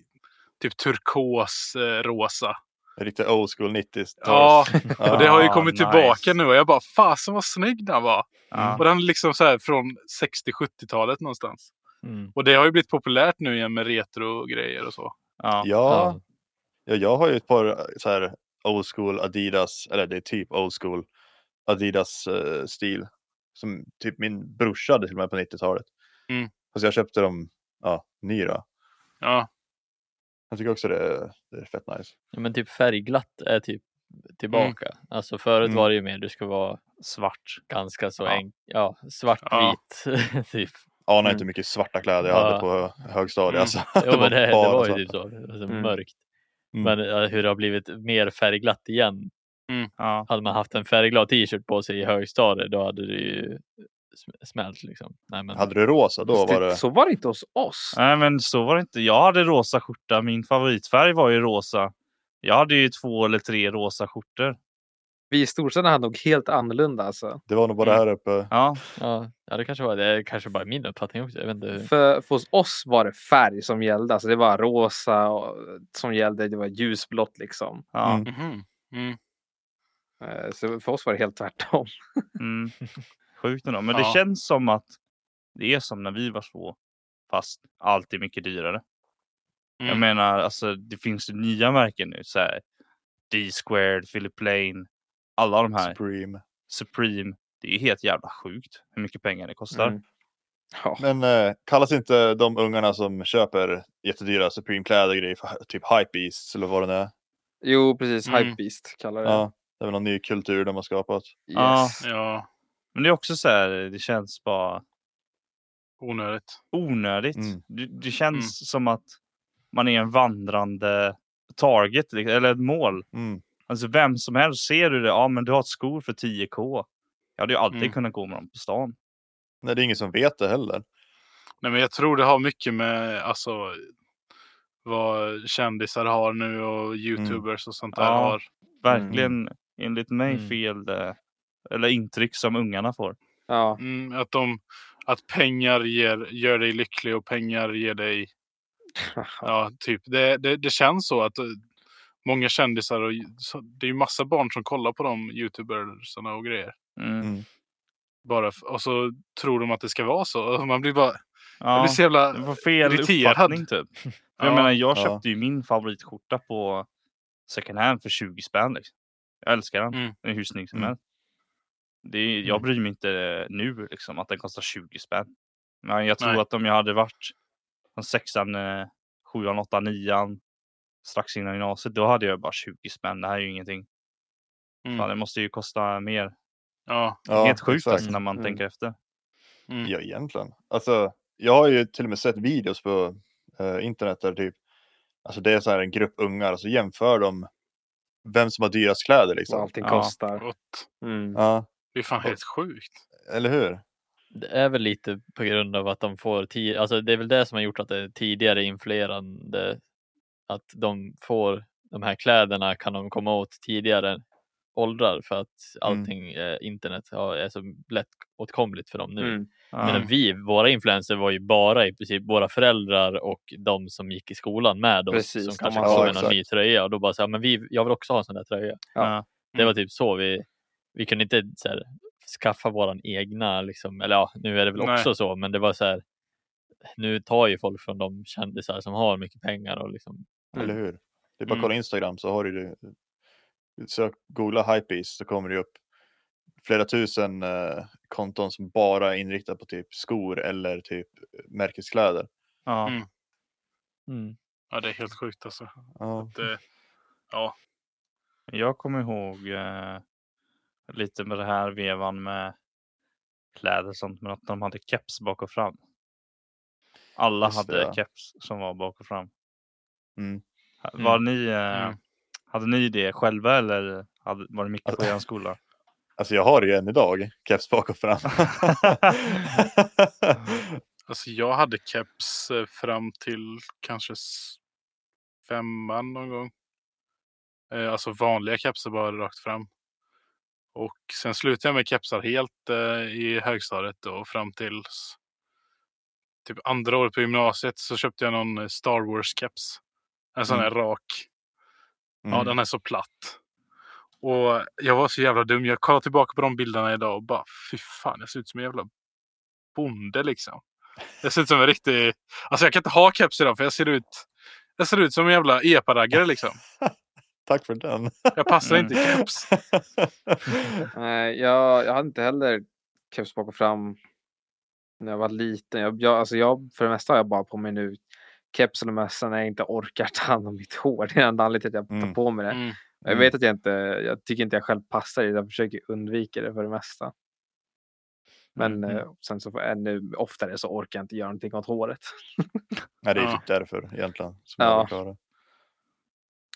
[SPEAKER 4] typ turkos, eh, rosa.
[SPEAKER 3] Riktigt old school 90s.
[SPEAKER 4] Ja, och det har ju
[SPEAKER 1] Ah,
[SPEAKER 4] kommit
[SPEAKER 1] nice.
[SPEAKER 4] tillbaka nu. Och jag bara, fasen vad snygg den var.
[SPEAKER 1] Ja.
[SPEAKER 4] Och den är liksom så här från 60-70-talet någonstans.
[SPEAKER 2] mm.
[SPEAKER 4] Och det har ju blivit populärt nu igen med retro-grejer och så.
[SPEAKER 1] Ja.
[SPEAKER 3] Ja. ja, jag har ju ett par eh, så här old school Adidas, eller det är typ old school Adidas eh, stil. Som typ min brorsa hade till och med på 90-talet.
[SPEAKER 4] Mm.
[SPEAKER 3] Fast jag köpte dem, ja, ny då.
[SPEAKER 4] Ja,
[SPEAKER 3] Jag tycker också det är, det är fett nice.
[SPEAKER 2] Ja, men typ färgglatt är typ tillbaka. Alltså förut
[SPEAKER 3] Mm.
[SPEAKER 2] var det ju mer du ska vara
[SPEAKER 1] Svart.
[SPEAKER 2] ganska så
[SPEAKER 1] Ja.
[SPEAKER 2] enk, ja, svartvit typ.
[SPEAKER 3] Anar
[SPEAKER 5] Mm.
[SPEAKER 3] inte hur mycket svarta kläder jag
[SPEAKER 2] Ja.
[SPEAKER 3] hade på högstadiet.
[SPEAKER 4] Mm.
[SPEAKER 3] Alltså,
[SPEAKER 2] Jo, men det, det
[SPEAKER 3] bara
[SPEAKER 2] var ju
[SPEAKER 3] svarta.
[SPEAKER 2] typ så, alltså,
[SPEAKER 5] Mm.
[SPEAKER 2] mörkt.
[SPEAKER 3] Mm.
[SPEAKER 2] Men eh, hur det har blivit mer färgglatt igen.
[SPEAKER 1] Ja.
[SPEAKER 2] Hade man haft en färgglad t-shirt på sig i högstadiet då hade det ju sm- smält liksom. Nej, men...
[SPEAKER 3] Hade du rosa då
[SPEAKER 5] Fast
[SPEAKER 3] var
[SPEAKER 5] det-
[SPEAKER 3] det...
[SPEAKER 5] Så var det inte hos oss.
[SPEAKER 1] Nej, men så var det inte. Jag hade rosa skjorta. Min favoritfärg var ju rosa. Jag hade ju två eller tre rosa skjortor.
[SPEAKER 5] Vi i storstäderna hade nog helt annorlunda alltså.
[SPEAKER 3] Det var nog bara här uppe.
[SPEAKER 1] Ja,
[SPEAKER 2] Ja, ja det kanske var det. är kanske bara min uppfattning också. Jag vet inte. hur-
[SPEAKER 5] För, för hos oss var det färg som gällde. Alltså det var rosa och, som gällde. Det var ljusblått liksom.
[SPEAKER 1] ja.
[SPEAKER 3] Mm.
[SPEAKER 4] Mhm.
[SPEAKER 5] Eh, Så för oss var det helt tvärtom.
[SPEAKER 1] Mm. Sjukt ändå. Men det
[SPEAKER 4] Ja.
[SPEAKER 1] känns som att det är som när vi var små. Fast allt är mycket dyrare. Jag
[SPEAKER 4] Mm.
[SPEAKER 1] menar, alltså, det finns ju nya märken nu. Så här, D-squared, Philip Lane. Alla de här.
[SPEAKER 3] Supreme.
[SPEAKER 1] Supreme. Det är ju helt jävla sjukt hur mycket pengar det kostar.
[SPEAKER 5] Mm. Ja.
[SPEAKER 3] Men eh, kallas inte de ungarna som köper jättedyra Supreme-kläder och grejer för typ hypebeasts eller vad det nu är?
[SPEAKER 5] Jo, precis.
[SPEAKER 4] Mm.
[SPEAKER 5] Hypebeast kallar det.
[SPEAKER 3] Ja, det är väl någon ny kultur de har skapat.
[SPEAKER 1] Ja.
[SPEAKER 5] Yes.
[SPEAKER 4] Ja,
[SPEAKER 1] Men det är också så här, det känns bara
[SPEAKER 4] onödigt.
[SPEAKER 1] onödigt.
[SPEAKER 3] Mm.
[SPEAKER 1] Det, det känns som att man är en vandrande target li- eller ett mål.
[SPEAKER 3] Mm.
[SPEAKER 1] Alltså vem som helst ser du det. Ja, men du har ett skor för 10k. Jag hade ju alltid
[SPEAKER 4] Mm.
[SPEAKER 1] kunnat gå med dem på stan.
[SPEAKER 3] Nej, det är ingen som vet det heller.
[SPEAKER 4] Nej, men jag tror det har mycket med alltså, vad kändisar har nu och youtubers och sånt där
[SPEAKER 1] Mm. Ja.
[SPEAKER 4] har.
[SPEAKER 1] verkligen enligt mig
[SPEAKER 2] Mm.
[SPEAKER 1] fel eh, eller intryck som ungarna får.
[SPEAKER 5] Ja,
[SPEAKER 4] Mm, att, de, att pengar ger, gör dig lycklig och pengar ger dig... Ja, typ. Det, det, det känns så att eh, många kändisar och så, det är ju massa barn som kollar på de youtubersarna och grejer.
[SPEAKER 1] Mm.
[SPEAKER 3] Mm.
[SPEAKER 4] Bara f- och så tror de att det ska vara så. Och Man blir bara... Jag
[SPEAKER 1] Ja,
[SPEAKER 4] blir så jävla...
[SPEAKER 1] du får fel
[SPEAKER 4] irriterad.
[SPEAKER 1] uppfattning typ. För Jag
[SPEAKER 4] Ja.
[SPEAKER 1] menar, jag
[SPEAKER 3] Ja.
[SPEAKER 1] köpte ju min favoritskjorta på second hand för 20 spänn. Liksom. Jag älskar den.
[SPEAKER 4] Mm.
[SPEAKER 1] Den är hur snygg som
[SPEAKER 3] Mm.
[SPEAKER 1] helst. Det är, jag bryr mig inte nu liksom, att den kostar 20 spänn. Men jag tror
[SPEAKER 4] Nej.
[SPEAKER 1] att om jag hade varit från sexan, eh, sjuan, åttan, nian strax innan gymnasiet, då hade jag bara 20 spänn. Det här är ju ingenting. Fan,
[SPEAKER 4] Mm.
[SPEAKER 1] det måste ju kosta mer.
[SPEAKER 4] Ja.
[SPEAKER 3] Ja,
[SPEAKER 1] Helt sjukt
[SPEAKER 3] exakt.
[SPEAKER 1] alltså, när man
[SPEAKER 5] Mm.
[SPEAKER 1] tänker efter.
[SPEAKER 4] Mm.
[SPEAKER 3] Ja, egentligen. Alltså, jag har ju till och med sett videos på eh, internet där typ, alltså det är så här en grupp ungar och så jämför de vem som har dyrast kläder liksom.
[SPEAKER 5] vad allting
[SPEAKER 1] Ja.
[SPEAKER 5] kostar.
[SPEAKER 4] Gott.
[SPEAKER 5] Mm.
[SPEAKER 3] Ja,
[SPEAKER 4] Det är fan helt sjukt.
[SPEAKER 3] eller
[SPEAKER 1] Mm.
[SPEAKER 3] hur?
[SPEAKER 2] Det är väl lite på grund av att de får tid, alltså det är väl det som har gjort att det är tidigare influerande att de får de här kläderna kan de komma åt tidigare åldrar för att
[SPEAKER 3] Mm.
[SPEAKER 2] allting eh, internet har- är så lättåtkomligt för dem nu.
[SPEAKER 5] Mm.
[SPEAKER 1] Ja.
[SPEAKER 2] Men vi, våra influencers var ju bara i princip våra föräldrar och de som gick i skolan med oss
[SPEAKER 5] Precis,
[SPEAKER 2] som
[SPEAKER 5] de
[SPEAKER 2] kanske
[SPEAKER 5] har-
[SPEAKER 2] såg
[SPEAKER 3] Ja,
[SPEAKER 2] någon ny tröja och då bara så här, men vi, jag vill också ha en sån där tröja.
[SPEAKER 1] Ja.
[SPEAKER 2] Det var typ så vi, vi kunde inte så här, skaffa våran egna, liksom, eller ja, nu är det väl
[SPEAKER 4] Nej.
[SPEAKER 2] också så, men det var så här, nu tar ju folk från de kändisar som har mycket pengar och liksom,
[SPEAKER 3] Eller hur? Det är bara att
[SPEAKER 4] Mm.
[SPEAKER 3] kolla Instagram så har du ju- sök, googla hypebeast så kommer det upp flera tusen eh, konton som bara är inriktade på typ skor eller typ märkeskläder.
[SPEAKER 1] Ja.
[SPEAKER 4] Mm. Ja, det är helt sjukt alltså.
[SPEAKER 3] Ja,
[SPEAKER 4] Att, eh,
[SPEAKER 1] Jag kommer ihåg eh, lite med det här vevan med kläder och sånt, men att de hade keps bak och fram. Alla
[SPEAKER 3] Just det,
[SPEAKER 1] hade
[SPEAKER 3] ja.
[SPEAKER 1] keps som var bak och fram.
[SPEAKER 3] Mm.
[SPEAKER 1] Var ni, eh,
[SPEAKER 4] Mm.
[SPEAKER 1] Hade ni det själva eller hade, var det mycket på er skola?
[SPEAKER 3] Alltså jag har det ju än idag, keps bak och fram.
[SPEAKER 4] alltså jag hade keps eh, fram till kanske s- femman någon gång. Eh, Alltså vanliga kepsar bara rakt fram. Och sen slutade jag med kepsar helt eh, i högstadiet då, och fram till s- typ andra året på gymnasiet så köpte jag någon eh, Star Wars-keps. En sån här rak.
[SPEAKER 3] Mm.
[SPEAKER 4] Ja, den är så platt. Och jag var så jävla dum. Jag kollar tillbaka på de bilderna idag och bara fy fan, jag ser ut som en jävla bonde liksom. Jag ser ut som en riktig... Alltså jag kan inte ha keps idag för jag ser ut... Jag ser ut som en jävla epa-raggare liksom.
[SPEAKER 3] Tack för den.
[SPEAKER 4] Jag passar inte i keps.
[SPEAKER 5] Nej, jag, jag hade inte heller keps bak och fram när jag var liten. Jag, jag, alltså jag, för det mesta har jag bara på mig nu keps eller mössa när jag inte orkar ta hand om mitt hår. Det är enda anledningen till att jag tar
[SPEAKER 3] Mm.
[SPEAKER 5] på mig det.
[SPEAKER 4] Mm.
[SPEAKER 5] Jag vet att jag inte, jag tycker inte jag själv passar i det. Jag försöker undvika det för det
[SPEAKER 4] Mm,
[SPEAKER 5] mesta. Men eh, sen så får ännu oftare så orkar jag inte göra någonting åt håret.
[SPEAKER 3] Nej, det är
[SPEAKER 4] Ja.
[SPEAKER 3] typ därför egentligen. Som
[SPEAKER 5] Ja.
[SPEAKER 3] jag förklarar.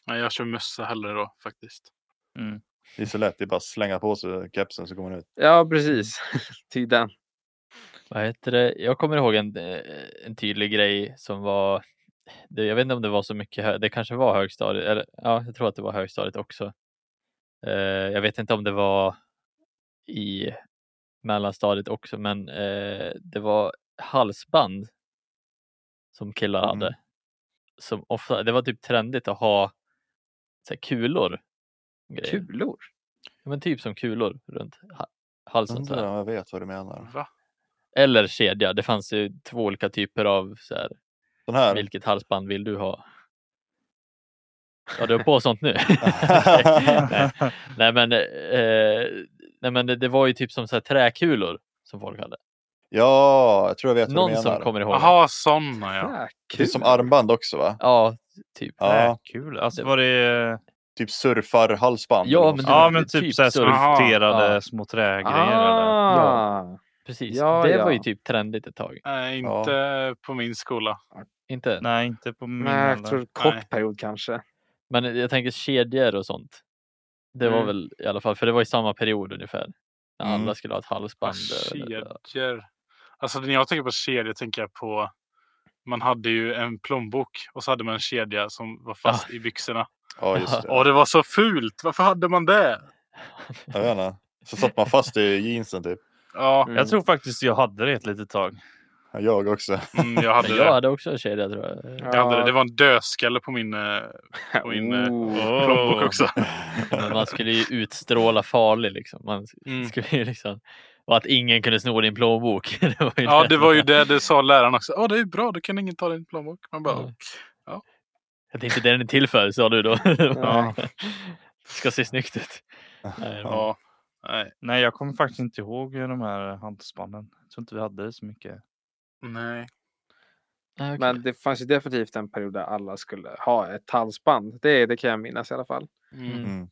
[SPEAKER 4] Nej, jag kör mössa hellre då faktiskt.
[SPEAKER 1] Mm.
[SPEAKER 3] det är så lätt, det är bara att slänga på sig kepsen så kommer den ut.
[SPEAKER 5] Ja, precis. Till den.
[SPEAKER 2] vad heter det? Jag kommer ihåg en, eh, en tydlig grej som var, det, jag vet inte om det var så mycket, hö- det kanske var högstadiet, eller ja, jag tror att det var högstadiet också. Eh, jag vet inte om det var i mellanstadiet också, men eh, det var halsband som killar
[SPEAKER 3] Mm.
[SPEAKER 2] hade. Som ofta, det var typ trendigt att ha så här, kulor. och grejer.
[SPEAKER 5] Kulor.
[SPEAKER 2] Ja, men typ som kulor runt ha- halsen. Så här.
[SPEAKER 3] Undrar om jag vet vad du menar.
[SPEAKER 4] Va?
[SPEAKER 2] Eller kedja. Det fanns ju två olika typer av så här,
[SPEAKER 3] Den här?
[SPEAKER 2] vilket halsband vill du ha? Ja, du har på sånt nu? nej. nej, men, eh, nej, men det, det var ju typ som så här träkulor som folk hade.
[SPEAKER 3] Ja, jag tror jag vet vad
[SPEAKER 2] Någon
[SPEAKER 3] du
[SPEAKER 2] som
[SPEAKER 3] menar.
[SPEAKER 2] kommer ihåg.
[SPEAKER 4] Jaha, sådana ja.
[SPEAKER 5] Ja,
[SPEAKER 3] Det är som armband också va?
[SPEAKER 2] Ja, typ.
[SPEAKER 3] Ja,
[SPEAKER 1] Kul. Alltså
[SPEAKER 2] Det-
[SPEAKER 1] var det...
[SPEAKER 3] typ surfarhalsband.
[SPEAKER 2] Ja,
[SPEAKER 3] eller något
[SPEAKER 2] men
[SPEAKER 3] sånt.
[SPEAKER 1] Ja
[SPEAKER 2] det-
[SPEAKER 1] men typ,
[SPEAKER 2] typ
[SPEAKER 1] så här
[SPEAKER 2] surf.
[SPEAKER 1] skulpterade
[SPEAKER 2] Ja.
[SPEAKER 1] små trägrejer. Eller?
[SPEAKER 5] Ah,
[SPEAKER 2] Precis.
[SPEAKER 5] Ja,
[SPEAKER 2] det
[SPEAKER 5] ja.
[SPEAKER 2] var ju typ trendigt ett tag.
[SPEAKER 4] Nej,
[SPEAKER 3] Ja.
[SPEAKER 4] inte på min skola.
[SPEAKER 2] Inte?
[SPEAKER 1] Nej inte på min
[SPEAKER 5] Nej, jag tror
[SPEAKER 1] heller.
[SPEAKER 5] kort
[SPEAKER 4] Mm, Nej.
[SPEAKER 5] period kanske.
[SPEAKER 2] Men jag tänker kedjor och sånt. Det var
[SPEAKER 5] Mm.
[SPEAKER 2] väl i alla fall, för det var i samma period ungefär. När
[SPEAKER 3] Mm.
[SPEAKER 2] alla skulle ha ett halsband.
[SPEAKER 5] Ah,
[SPEAKER 2] eller-
[SPEAKER 4] Kedjor. Alltså när jag tänker på kedjor tänker jag på... Man hade ju en plånbok och så hade man en kedja som var fast i byxorna.
[SPEAKER 3] Ja, just det.
[SPEAKER 4] Åh, det var så fult. Varför hade man det?
[SPEAKER 3] Jag vet inte. Så satt man fast i jeansen typ.
[SPEAKER 4] Ja,
[SPEAKER 5] Mm.
[SPEAKER 1] Jag tror faktiskt jag hade det ett litet tag.
[SPEAKER 3] Jag också.
[SPEAKER 4] mm, jag hade
[SPEAKER 2] Men
[SPEAKER 4] det.
[SPEAKER 2] jag hade också en kedja tror jag.
[SPEAKER 4] Jag hade det. det var en dödskalle på min, eh, på min eh,
[SPEAKER 5] Oh.
[SPEAKER 4] plånbok också.
[SPEAKER 2] Men man skulle ju utstråla farlig liksom. Man
[SPEAKER 4] Mm.
[SPEAKER 2] skulle ju liksom... Och att ingen kunde sno din plånbok. det var ju
[SPEAKER 4] Ja, det var ju det, det sa läraren också. Ja, det är ju bra. Då kan ingen ta din plånbok. Man bara,
[SPEAKER 2] Ja. Jag tänkte det den är till för, sa du då.
[SPEAKER 5] Ja.
[SPEAKER 2] Ska se snyggt ut. Nej, men-
[SPEAKER 4] ja. Nej.
[SPEAKER 1] Nej, jag kommer faktiskt inte ihåg de här handspannen. Jag tror inte vi hade det så mycket.
[SPEAKER 4] Nej.
[SPEAKER 2] nej, Ah, okej.
[SPEAKER 5] Men det fanns ju definitivt en period där alla skulle ha ett halsband. Det, det kan jag minnas i alla fall.
[SPEAKER 4] Mm.
[SPEAKER 3] Mm.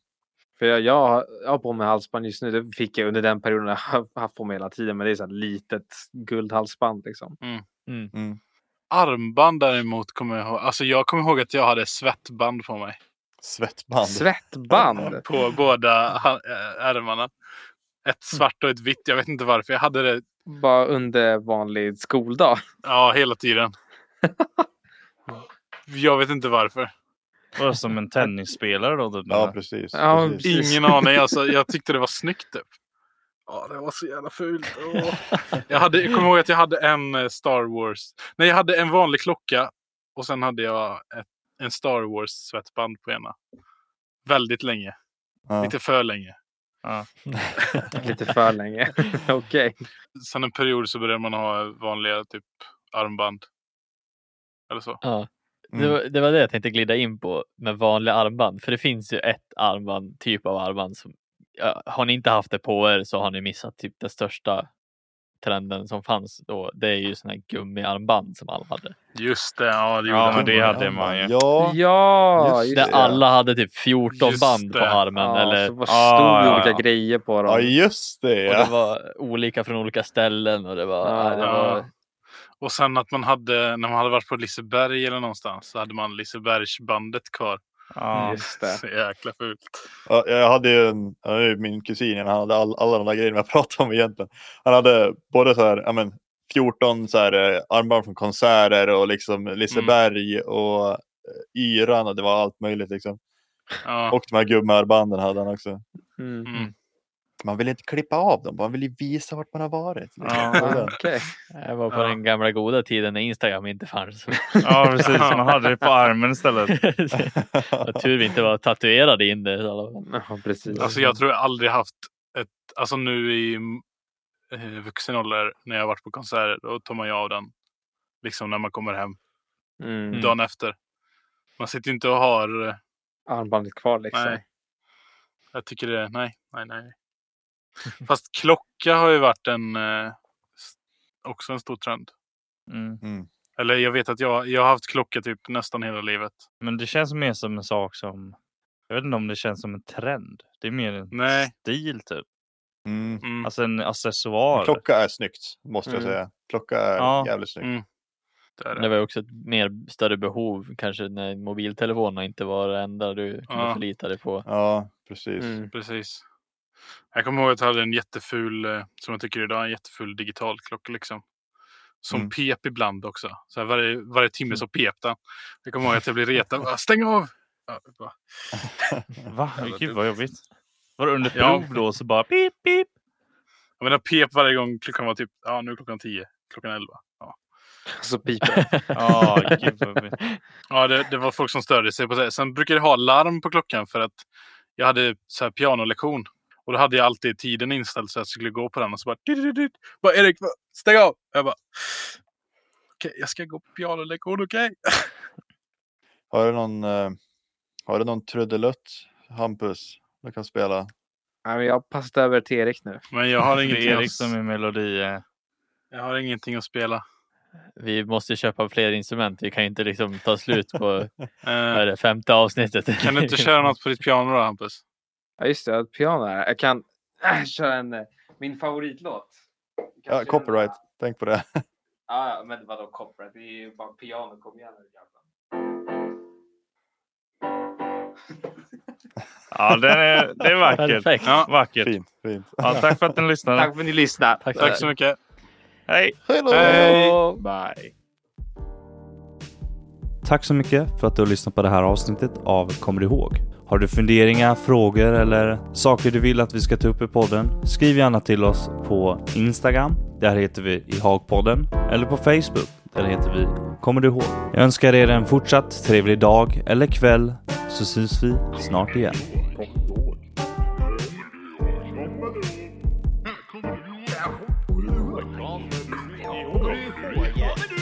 [SPEAKER 5] För jag, jag, har- jag har på mig halsband just nu. Det fick jag under den perioden jag har haft på mig hela tiden. Men det är så här litet guldhalsband liksom.
[SPEAKER 2] Mm.
[SPEAKER 4] Armband däremot kommer jag ihåg. Alltså jag kommer ihåg att jag hade svettband på mig.
[SPEAKER 3] Svettband.
[SPEAKER 5] Svettband!
[SPEAKER 4] På båda ha- eh, ärmarna. Ett svart och ett vitt. Jag vet inte varför. Jag hade det
[SPEAKER 5] Bara under vanlig skoldag.
[SPEAKER 4] ja, hela tiden. Jag vet inte varför.
[SPEAKER 1] Det var som en tennisspelare då. Typ,
[SPEAKER 3] Ja, precis.
[SPEAKER 5] Ja,
[SPEAKER 3] precis.
[SPEAKER 5] i-
[SPEAKER 4] Ingen aning. Alltså, jag tyckte det var snyggt typ. Ja, det var så jävla fult. Åh. Jag, hade, jag kommer ihåg att jag hade en eh, Star Wars. Nej, jag hade en vanlig klocka. Och sen hade jag ett, en Star Wars svettband på ena. Väldigt länge.
[SPEAKER 3] Ja.
[SPEAKER 4] Lite för länge.
[SPEAKER 5] Lite för länge. Okej.
[SPEAKER 4] sen en period så började man ha vanliga typ armband. Eller så.
[SPEAKER 2] Ja. Det,
[SPEAKER 3] Mm.
[SPEAKER 2] var, det var det jag tänkte glida in på med vanliga armband. För det finns ju ett armband, typ av armband som ja, har ni inte haft det på er så har ni missat typ den största trenden som fanns då. Det är ju sådana här gummiarmband som alla hade.
[SPEAKER 4] Just det, ja det gjorde
[SPEAKER 1] Ja,
[SPEAKER 4] man.
[SPEAKER 1] men det hade man ju.
[SPEAKER 3] Ja,
[SPEAKER 5] Ja,
[SPEAKER 3] Just
[SPEAKER 5] just
[SPEAKER 2] Där
[SPEAKER 5] det.
[SPEAKER 2] alla hade typ 14
[SPEAKER 4] Just
[SPEAKER 2] band på
[SPEAKER 4] det.
[SPEAKER 2] armen
[SPEAKER 5] Ja,
[SPEAKER 2] eller
[SPEAKER 5] så var stod
[SPEAKER 1] Ah, ja,
[SPEAKER 5] olika
[SPEAKER 1] ja.
[SPEAKER 5] grejer på dem.
[SPEAKER 3] ja just det.
[SPEAKER 2] och det
[SPEAKER 3] Ja.
[SPEAKER 2] var olika från olika ställen och det var,
[SPEAKER 5] Ja.
[SPEAKER 2] ja. det
[SPEAKER 4] Ja.
[SPEAKER 2] var
[SPEAKER 4] Och sen att man hade, när man hade varit på Liseberg eller någonstans, så hade man Lisebergsbandet kvar. Mm.
[SPEAKER 1] Ja.
[SPEAKER 5] Just det.
[SPEAKER 4] Så jäkla fult.
[SPEAKER 3] Ja, Jag hade ju en, jag hade ju min kusin, han hade all, alla de där grejerna jag pratade om egentligen. Han hade både så här, ja, men, 14 så här, eh, armband från konserter och liksom Liseberg och eh, Yran och det var allt möjligt liksom.
[SPEAKER 4] Ja.
[SPEAKER 3] Och de här gummiarmbanden hade han också.
[SPEAKER 5] Mm.
[SPEAKER 4] Mm.
[SPEAKER 3] Man vill inte klippa av dem, man vill ju visa vart man har varit. liksom.
[SPEAKER 1] Ja.
[SPEAKER 5] Ah, Okej.
[SPEAKER 2] Jag var på
[SPEAKER 4] Ja.
[SPEAKER 2] den gamla goda tiden när Instagram inte fanns.
[SPEAKER 1] ja, precis. Man hade det på armen istället.
[SPEAKER 2] Vad tur vi inte var tatuerade in det. i alla fall.
[SPEAKER 5] Ja, precis.
[SPEAKER 4] Alltså jag tror jag aldrig haft ett, alltså nu i eh, vuxen ålder när jag har varit på konserter, då tar man ju av den. Liksom när man kommer hem
[SPEAKER 5] Mm.
[SPEAKER 4] dagen efter. Man sitter ju inte och har, eh,
[SPEAKER 5] Armbandet kvar liksom.
[SPEAKER 4] nej. Jag tycker det, nej, nej, nej. Fast klocka har ju varit en, eh, s- också en stor trend.
[SPEAKER 1] Mm.
[SPEAKER 4] Eller jag vet att jag, jag har haft klocka typ nästan hela livet.
[SPEAKER 1] Men det känns mer som en sak som... Jag vet inte om det känns som en trend. Det är mer en
[SPEAKER 4] Nej.
[SPEAKER 1] stil typ.
[SPEAKER 3] Mm.
[SPEAKER 4] Mm.
[SPEAKER 1] Alltså en accessoar.
[SPEAKER 3] Klocka är snyggt, måste jag
[SPEAKER 5] Mm.
[SPEAKER 3] säga. Klocka är
[SPEAKER 1] Ja.
[SPEAKER 3] jävligt snyggt.
[SPEAKER 4] Mm. det är det.
[SPEAKER 2] Det var ju också ett mer större behov kanske när mobiltelefonerna inte var det enda du kunde
[SPEAKER 4] Ja.
[SPEAKER 2] förlita dig på.
[SPEAKER 3] Ja, precis.
[SPEAKER 5] Mm.
[SPEAKER 4] Precis. Jag kommer ihåg att jag hade en jätteful, eh, som jag tycker idag, en jätteful digital klocka liksom. Som
[SPEAKER 3] Mm.
[SPEAKER 4] pep ibland också. Så här, varje, varje timme så pep den. Jag kommer ihåg att jag blev retad. Bara, Stäng av! Ja, bara,
[SPEAKER 1] Va?
[SPEAKER 4] Jävla
[SPEAKER 1] Gud
[SPEAKER 4] dumt.
[SPEAKER 1] vad jobbigt. Var det under
[SPEAKER 4] Ja.
[SPEAKER 1] prov då så bara pip pip?
[SPEAKER 4] Jag menar pep varje gång klockan var typ, ja nu är klockan tio, klockan elva. Ja,
[SPEAKER 5] Så piper
[SPEAKER 1] Ja, gud vad jobbigt.
[SPEAKER 4] ja det, det var folk som störde sig på det. Sen brukade jag ha larm på klockan för att jag hade så här pianolektion. Och då hade jag alltid tiden inställd så jag skulle gå på den och så bara... "Didididid." bara Erik, va- stäng av! Jag bara... Okej, jag ska gå på pianolektion, okej?
[SPEAKER 3] Har du någon, eh, har du någon trudelutt, Hampus, du kan spela?
[SPEAKER 5] Nej, men Jag har passat över till Erik nu.
[SPEAKER 4] Men jag har
[SPEAKER 1] Det är
[SPEAKER 4] ingenting,
[SPEAKER 1] Erik
[SPEAKER 4] att,
[SPEAKER 1] som är melodi. eh.
[SPEAKER 4] jag har ingenting att spela.
[SPEAKER 2] Vi måste köpa fler instrument. Vi kan ju inte liksom ta slut på vad är
[SPEAKER 4] Eh,
[SPEAKER 2] det, femte avsnittet.
[SPEAKER 4] kan du inte köra något på ditt piano då, Hampus?
[SPEAKER 5] Ja, just det. Jag har ett piano här. Jag kan äh, köra en... eh, Min favoritlåt.
[SPEAKER 3] Ja,
[SPEAKER 5] Kanske
[SPEAKER 3] copyright,
[SPEAKER 5] den-
[SPEAKER 3] tänk på det.
[SPEAKER 5] Ja, ja, men vadå copyright? Det är ju bara piano. Kom igen nu grabbar.
[SPEAKER 1] Ja, den är, det är vackert.
[SPEAKER 2] Perfekt.
[SPEAKER 4] Ja.
[SPEAKER 1] Vackert.
[SPEAKER 3] Fint, fint.
[SPEAKER 1] Ja, tack för att ni lyssnade.
[SPEAKER 5] Tack för att ni lyssnade.
[SPEAKER 2] Tack så
[SPEAKER 4] Tack så mycket.
[SPEAKER 1] Hej!
[SPEAKER 3] Hej då!
[SPEAKER 4] Hej!
[SPEAKER 5] Bye.
[SPEAKER 1] Tack så mycket för att du har lyssnat på det här avsnittet av Kommer du ihåg? Har du funderingar, frågor eller saker du vill att vi ska ta upp i podden? Skriv gärna till oss på Instagram. Där heter vi i Hagpodden eller på Facebook. Där heter vi Kommer du ihåg? Jag önskar er en fortsatt trevlig dag eller kväll så syns vi snart igen.
[SPEAKER 6] Kommer du ihåg? Kommer du ihåg? Kommer du ihåg?